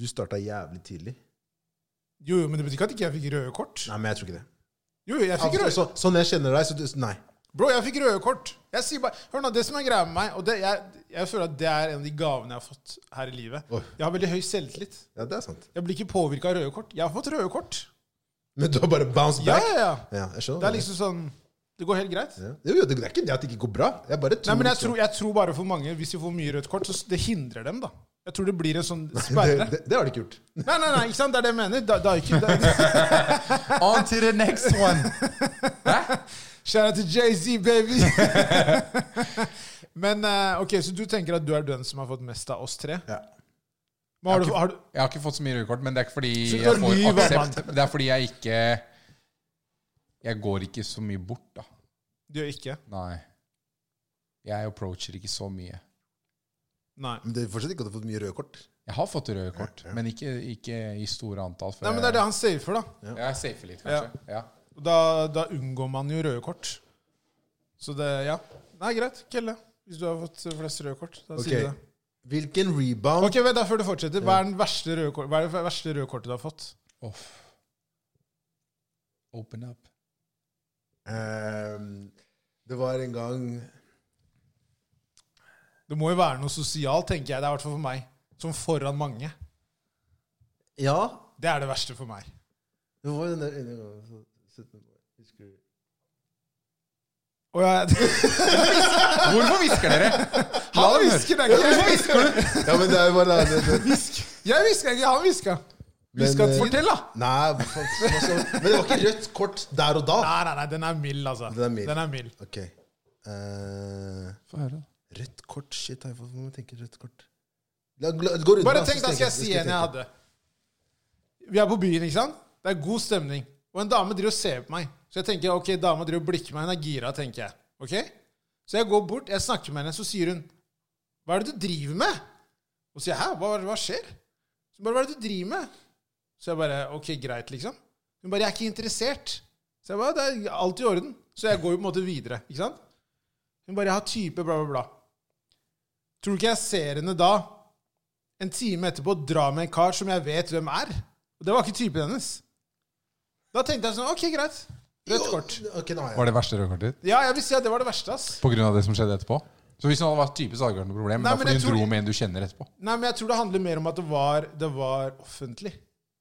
Du starta jævlig tidlig.
Jo, jo, men det betyr ikke at ikke jeg fikk røde kort.
Nei, men jeg tror ikke det.
Jo, jo, jeg fikk
Altså,
røde
så, sånn jeg kjenner deg, så du, nei.
Bro, jeg fikk røde kort. Jeg sier bare, hør nå, Det som er greia med meg, og det, jeg, jeg føler at det er en av de gavene jeg har fått her i livet
Oi.
Jeg har veldig høy selvtillit.
Ja, det er sant.
Jeg blir ikke påvirka av røde kort. Jeg har fått røde kort.
Men du har bare bounced
Ja,
back?
ja, ja.
Ja, jeg skjønner.
Det er liksom sånn Det går helt greit.
ja. Jo, jo, det er ikke det at det ikke går bra. Jeg bare tror
Nei, men jeg
liksom-
tror, jeg tror bare for mange, hvis de får mye rødt kort, så s- det hindrer dem, da. Jeg tror det blir en sånn
det,
sperre.
det, det har du ikke gjort.
Nei, nei, nei, ikke sant? Det er det jeg mener. Da, da er ikke, da,
On to the next one.
shout out til Jay-Z, baby! men eh, ok, så du tenker at du er den som har fått mest av oss tre?
Ja.
Men har du, har du,
Jeg har ikke fått så mye røde kort, men det er ikke fordi
Så
jeg
lyv,
får aksept.
mann.
Det er fordi jeg ikke Jeg går ikke så mye bort, da.
du gjør ikke?
Nei. Jeg approacher ikke så mye.
Nei.
Men det er fortsatt ikke at du har fått mye røde kort.
Jeg har fått røde kort, men ikke, ikke i store antall. for
Nei, men Det er det han safer, da.
Jeg, jeg safer litt, kanskje. Ja.
Og Da, da unngår man jo røde kort. Så det Ja. Nei, greit. Kelle. Hvis du har fått flest røde kort, da
Ok.
sier du det.
Hvilken rebound
Ok, vent da, Før du fortsetter, hva er, den verste røde kort, hva er det verste røde kortet du har fått?
Off. Open up.
Ehm, Det var en gang
Det må jo være noe sosialt, tenker jeg. Det er i hvert fall for meg. Som foran mange.
Ja,
Det er det verste for meg.
det var den der ene gangen så- så- Husker du
Og jeg,
Hvorfor hvisker dere? La
han
dem høre.
hvisker, det er ikke jeg.
Ja, men det er jo bare det, det, det.
Jeg hvisker ikke, han hviska. Hviska
Men, eh,
fortell, da!
Nei, hva faen, altså, men det var ikke rødt kort der og da.
Nei, nei, nei, den er mild, altså.
Den er mild.
Den er mild.
Ok. Eh, rødt kort, shit. Jeg får må tenke rødt kort. La, la, gå rundt,
Bare
da, så
tenk, da skal jeg si en jeg
tenke.
hadde. Vi er på byen, ikke sant? Det er god stemning. Og en dame driver og ser på meg. Så jeg tenker, ok, dama driver og blikker meg, hun er gira, tenker jeg. Ok? Så jeg går bort, jeg snakker med henne, så sier hun, hva er det du driver med? Og så sier jeg, hæ, hva, hva skjer? Så bare, hva er det du driver med? Så jeg bare, ok, greit, liksom. Hun bare, jeg er ikke interessert. Så jeg bare, det er alt i orden. Så jeg går jo på en måte videre, ikke sant? Hun bare, jeg har type, bla, bla, bla. Tror du ikke jeg ser henne da, en time etterpå dra med en kar som jeg vet hvem er. Og det var ikke typen hennes. Da tenkte jeg sånn Ok, greit. Rødt kort.
Ok, nå har jeg.
Var det verste rødkortet ditt?
Ja, jeg vil si at det var det verste, ass.
På grunn av det som skjedde etterpå? Så hvis hun hadde vært type, så hadde det ikke vært noe problem. Men
Nei,
da
men
fordi
jeg
hun
tror-
dro med en du kjenner etterpå.
Nei, men jeg tror det handler mer om at det var, det var offentlig.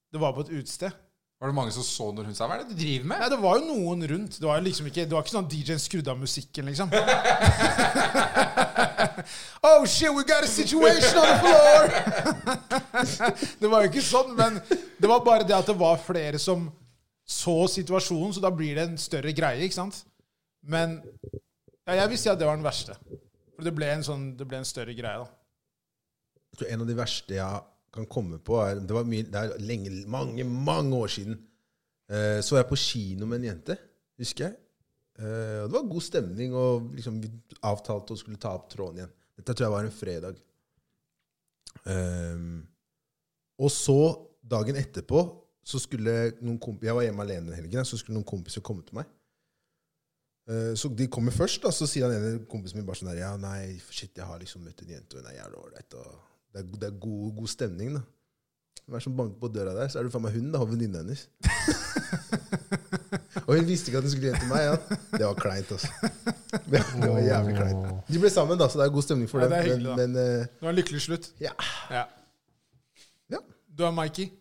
Det var på et utested.
Var det mange som så når hun sa 'hva er det du driver med'?
Nei, det var jo noen rundt. Det var jo liksom ikke, det var ikke sånn at DJ-en skrudde av musikken, liksom. oh shit, we got a situation on the floor! det var jo ikke sånn, men det var bare det at det var flere som så situasjonen, så da blir det en større greie, ikke sant? Men ja, jeg vil si at det var den verste. For det ble en, sånn, det ble en større greie, da.
Jeg tror En av de verste jeg kan komme på, er Det var mye, det er lenge, mange, mange år siden. Eh, så var jeg på kino med en jente, husker jeg. Eh, og det var god stemning, og liksom, vi avtalte å skulle ta opp tråden igjen. Dette tror jeg var en fredag. Eh, og så, dagen etterpå, så skulle noen kompiser Jeg var hjemme alene den helgen, så skulle noen kompiser komme til meg. Eh, Så de kommer først, da, så sier han ene kompisen min bare sånn der Ja, nei, shit, jeg har liksom møtt en jente, og hun er jævlig ålreit, og det er, det er god, god stemning, da. Hvem er det som banker på døra der? Så er det faen meg hun, da, og venninna hennes. og hun visste ikke at hun skulle hjem til meg. Ja. Det var kleint, altså. Det var jævlig kleint. De ble sammen, da, så det er god stemning
Ja,
for
det
dem.
er hyggelig, da.
men, men eh,
Det var en lykkelig slutt.
ja.
Ja.
ja.
Du er Mikey.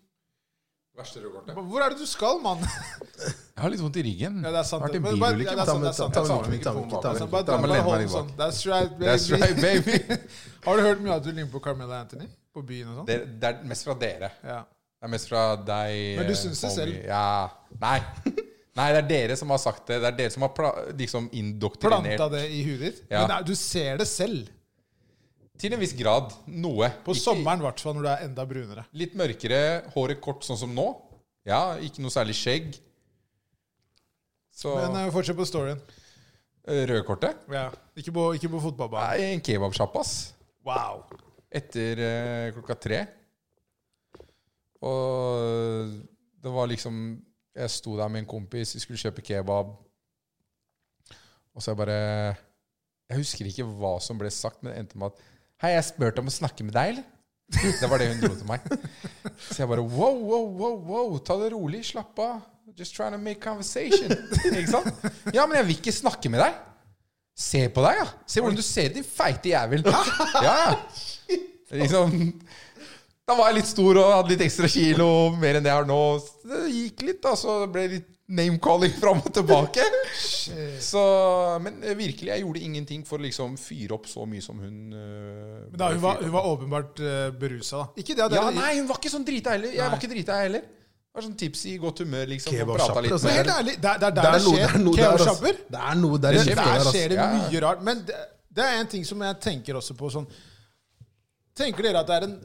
Verste rødkortet.
Hvor er det du skal, mann?
Jeg har litt vondt i ryggen.
Ja, det er sant.
Vært
det.
i en
Men bare- ja,
bilulykke.
det er sant, det er sant.
Ta
Det er
med
sant.
mikrofonen, ta med mikrofonen, ta med
Altså,
mikrofonen.
bare
Ta
dra
med
bare
lene meg
hold
litt
den sånn.
bak.
That's right, baby.
That's right, baby.
Har du hørt mye at du ligner på Carmela Anthony? På byen og sånn?
Det, det er mest fra dere.
Ja.
Det er mest fra deg.
Men du
eh,
syns det
homie.
selv.
Ja. Nei. Nei, det er dere som har sagt det. Det er dere som har pla liksom indoktrinert.
Planta det i huet ditt?
Ja.
Men nei, du ser det selv.
Til en viss grad. Noe.
På
Ikke-
sommeren, i hvert fall, når du er enda brunere.
Litt mørkere, håret kort, sånn som nå. Ja, ikke noe særlig skjegg. Så
Men eh, fortsett på storyen.
eh, Rødkortet?
Ja. Ikke på, ikke på fotballbanen.
Nei, en kebabsjappe, ass.
Wow.
Etter eh, klokka tre. Og det var liksom Jeg sto der med en kompis, vi skulle kjøpe kebab. Og så jeg bare Jeg husker ikke hva som ble sagt, men det endte med at Hei, jeg spurte om å snakke med deg, eller? Det var det hun dro til meg. Så jeg bare wow, wow, wow, wow, ta det rolig, slapp av. Just trying to make conversation. Ikke sant? Ja, men jeg vil ikke snakke med deg. Se på deg, ja. Se hvordan du ser ut, din feite jævel. Ja, ja. Liksom, da var jeg litt stor og hadde litt ekstra kilo, mer enn det jeg har nå. Så Det gikk litt, da, så det ble litt name-calling fram og tilbake. Så, men virkelig, jeg gjorde ingenting for å liksom fyre opp så mye som hun øh,
Men da, hun, var,
fyrte
hun var åpenbart uh, berusa, da. Ikke det at det
ja, nei, hun var ikke sånn drita heller. Jeg var ikke drita jeg heller. Var sånn tipsy, godt humør, liksom. og
Kebabsjapper,
pratet litt.
altså.
Men helt ærlig, det er det er der det skjer.
altså.
Kebabsjapper.
Det er noe der. i
Det,
lufta
der
altså.
skjer det
Ja, ja.
mye rart. Men det, det er en ting som jeg tenker også på sånn Tenker dere at det er en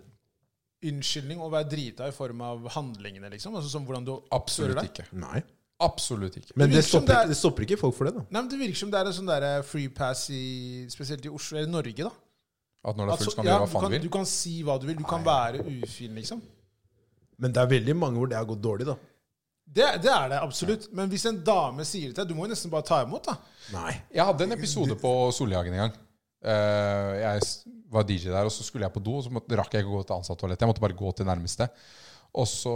unnskyldning å være drita i form av handlingene, liksom? Altså som hvordan du
Absolutt
oppfører deg?
ikke.
Nei.
Absolutt ikke.
Det
Men det
virker som
stopper,
det er-
ikke- det stopper ikke folk for det, da.
Nei, men Det virker som det er en sånn der free pass i, spesielt i Oslo, eller Norge, da.
At når det er
At
fullt,
så-
kan
Altså,
du
ja,
gjøre hva
du,
faen
kan,
du vil.
du kan si hva du vil. Du kan være ufin, liksom.
Men det er veldig mange hvor det har gått dårlig, da.
Det, det er det absolutt. Men hvis en dame sier det til deg, du må jo nesten bare ta imot, da.
Nei.
Jeg hadde en episode på Solhagen en gang. Eh, jeg s- var DJ der, og så skulle jeg på do, og så måtte, rakk jeg ikke å gå til ansatttoalettet. Jeg måtte bare gå til nærmeste. Og så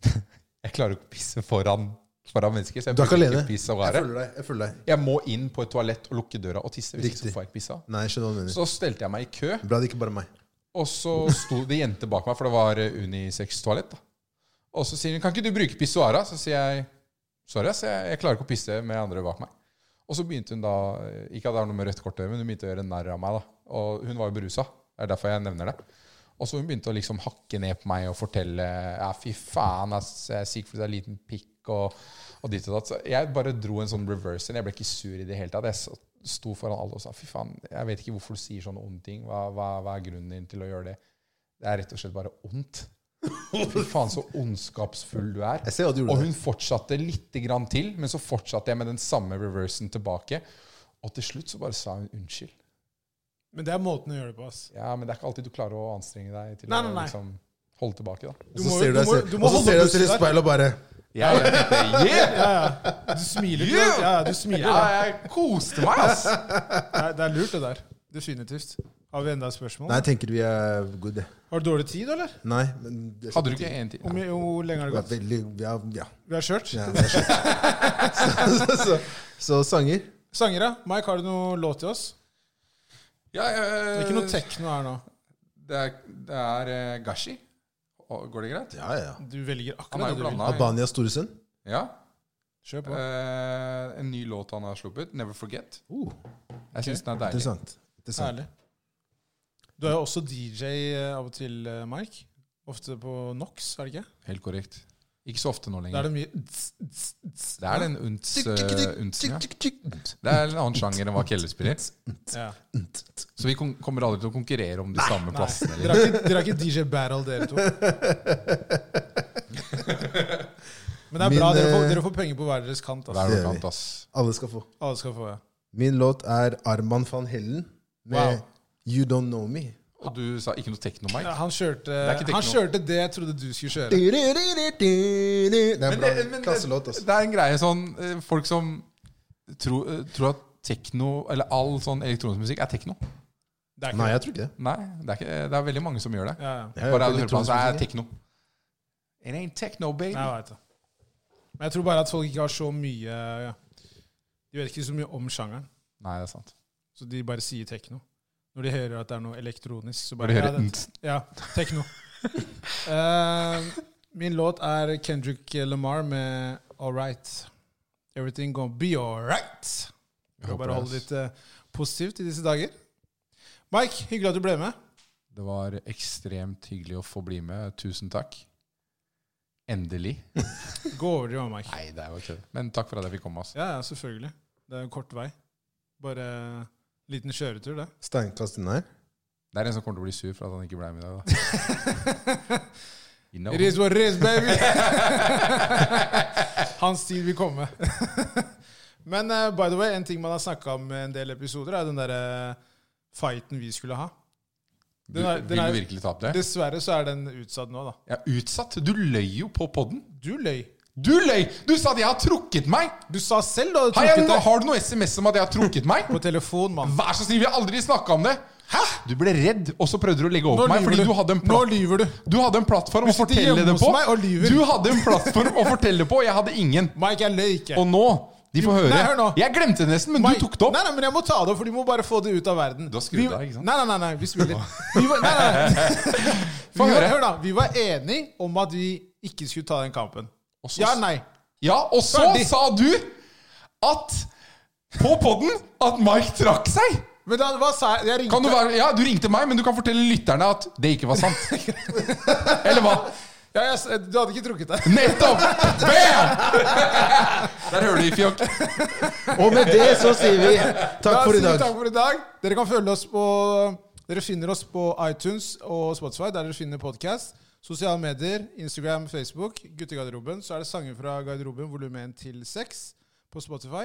Jeg klarer jo ikke å pisse foran, foran mennesker, så jeg
Du er ikke
bruker
alene.
ikke piss og
Jeg
være.
følger deg. Jeg følger deg.
Jeg må inn på et toalett og lukke døra og tisse. Hvis ikke så
Riktig.
får jeg ikke pissa.
Nei, jeg skjønner hva du mener.
Så stelte jeg meg i kø.
Bra det ikke bare er meg.
Og så sto det jente bak meg, for det var eh, unisex-toalett. da. Og så sier hun 'Kan ikke du bruke pissoara?' Så sier jeg 'Sorry, ass, jeg, jeg klarer ikke å pisse med andre bak meg'. Og så begynte hun da Ikke at det har noe med rødt kort å gjøre, men hun begynte å gjøre narr av meg. da. Og hun var jo berusa. Det er derfor jeg nevner det. Og så hun begynte å liksom hakke ned på meg og fortelle Ja, fy faen, ass, jeg er syk fordi det er liten pikk og, og ditt og datt. Så jeg bare dro en sånn reverse inn. Jeg ble ikke sur i det hele tatt. Jeg s- sto foran alle og sa fy faen, jeg vet ikke hvorfor du sier sånne onde ting. Hva, hva, hva er grunnen din til å gjøre det? Det er rett og slett bare ondt. Fy faen, så ondskapsfull du er.
Jeg ser hva du gjorde
Og
der.
hun fortsatte litt grann til, men så fortsatte jeg med den samme reversen tilbake. Og til slutt så bare sa hun unnskyld.
Men det er måten å gjøre det på. ass.
Ja, men det er ikke alltid du klarer å anstrenge deg til
Nei,
å
nei, nei.
liksom, holde tilbake, da.
Og
Du
så
må-
ser du
du
deg
må-
selv
du må
og så
holde
ser du deg selv i
pusten der.
speilet og bare
Ja, ja,
Ja, ja. Du smiler. til det. Ja, ja, du smiler da.
jeg koste meg, ass!
Det er, det er lurt, det der. Definitivt. Har vi enda et spørsmål?
Nei, jeg tenker vi er good, jeg.
Har du dårlig tid, eller?
Nei, men det-
Hadde du ikke en
Hvor,
til?
mye- hvor lenge har det
det var
gått?
veldig, ja, ja,
Vi har kjørt.
ja, det er skjønt. så, så, så, så sanger
Sanger, ja. Mike, har du noe låt til oss?
Ja,
Det er ikke
Eh,
noe tekno her nå.
Det er, det er eh, Gashi. Å, Går det greit?
Ja, ja.
Du velger
Han
akkurat
er jo
det du vil.
blanda.
Albania Storesund.
Ja.
Kjør på.
Eh, en ny låt han har sluppet, 'Never Forget'.
Uh,
Jeg syns den er deilig.
interessant. interessant.
Særlig. Du er jo også DJ av og til, eh, Mike. Ofte på NOx, er det ikke?
Helt korrekt. Ikke så ofte nå
Da er
lenger.
det mye tss, tss, tss.
Det er den unts, eh, untsen, ja. Det er en annen sjanger enn hva Kjelle spiller.
Ja.
Så vi kon- kommer aldri til å konkurrere om de samme
Nei,
plassene.
dere
eller?
har ikke, dere har ikke DJ Battle, dere to. Men det er
Min,
bra. Dere får,
eh,
dere får penger på hver deres kant.
Det
Altså.
er
Det
noe
gjør vi.
annet, ass.
Alle skal få.
Alle skal få. ja.
Min låt er Arman van Hellen med
Wow.
You Don't Know Me.
Og du sa ikke noe tekno,
Ja,
Mike.
Han kjørte
er ikke
det,
tekno.
han kjørte det jeg trodde du skulle
Det
kjøre.
er en bra klasselåt, altså.
det er en greie sånn eh, Folk som tror, eh, tror at tekno, eller all sånn elektronisk musikk, er tekno.
Det er ikke
Nei,
det.
jeg tror ikke det.
Nei, det er, ikke, det er veldig mange som gjør det.
Ja, ja.
Jeg
Bare
hører
du
på
hører på, den, så
elektronisk
er
musikk.
tekno. It ain't techno, baby.
Nei, jeg vet det. Men jeg tror bare at folk ikke har så mye ja. De vet ikke så mye om sjangeren,
Nei, det er sant.
så de bare sier tekno. Når de hører at det er noe elektronisk, så
Bare
bare
høre
Ja, det, ja tekno. Eh, min låt er Kendrick Lamar med All Right. Everything gonna be all right.
håper
Skal bare
det,
holde
ass.
litt eh, positivt i disse dager. Mike, hyggelig at du ble med.
Det var ekstremt hyggelig å få bli med. Tusen takk. Endelig.
Gå over til meg, Mike.
Nei, det er jo ikke det. Men takk for at jeg fikk komme. altså. ass.
Ja, ja, selvfølgelig. Det er jo kort vei. Bare eh, liten kjøretur, det.
Steinkast unna her.
Det er en som kommer til å bli sur for at han ikke ble med i dag. Da. You know.
It is what it is, baby! Hans tid vil komme. Men eh, by the way, en ting man har snakka om i en del episoder, er den derre fighten vi skulle ha.
Du,
Den er- den
vil
er-
du virkelig ta opp det?
Dessverre så er den utsatt nå, da.
Jeg er utsatt. Du løy jo på poden.
Du løy.
Du løy! Du sa at jeg har trukket meg!
Du sa selv da du
Har, jeg,
trykket deg
har du noe SMS om at jeg har trukket meg?
på telefon, mann.
Vær så snill, vi har aldri snakka om det! Hæ? Du ble redd, og så prøvde du å legge over på meg fordi du hadde en
Nå
plattform.
lyver du.
Du hadde en plattform å
sitter
fortelle
hjemme
det
hos
på.
meg og lyver.
Du hadde en plattform å fortelle på, og jeg hadde ingen.
Mike, jeg løy ikke.
Og nå De får høre.
Nei, hør nå.
Jeg glemte det nesten, men
Mike-
du tok det opp.
Nei, nei, men jeg må ta det opp, for de må bare få det ut av verden.
Du har skrudd
Vi-
av, ikke sant?
Nei, nei, nei, nei vi spiller. Vi var, nei, nei, nei. Vi
Få
var,
høre.
hør da, vi var enige om at vi ikke skulle ta den kampen.
Og så-
Ja, nei.
Ja, og så
Ferdig.
sa du at På poden at Mike trakk seg!
Men da, hva sa jeg? Jeg ringte.
Kan du være, ja, du ringte meg, men du kan fortelle lytterne at det ikke var sant. Eller hva?
Ja, jeg, s- du hadde ikke trukket deg.
Nettopp! Bam! Der hører du i fjokk.
Og med det så sier vi takk
Da
for i
sier vi
dag.
Takk for i dag. Dere kan følge oss på Dere finner oss på iTunes og Spotify, der dere finner podkast. Sosiale medier, Instagram, Facebook, Guttegarderoben. Så er det sanger fra garderoben, volum 1 til 6, på Spotify.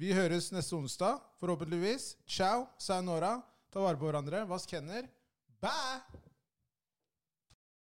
Vi høres neste onsdag, forhåpentligvis. Ciao, sayonara. Ta vare på hverandre. Vask hender. Bye!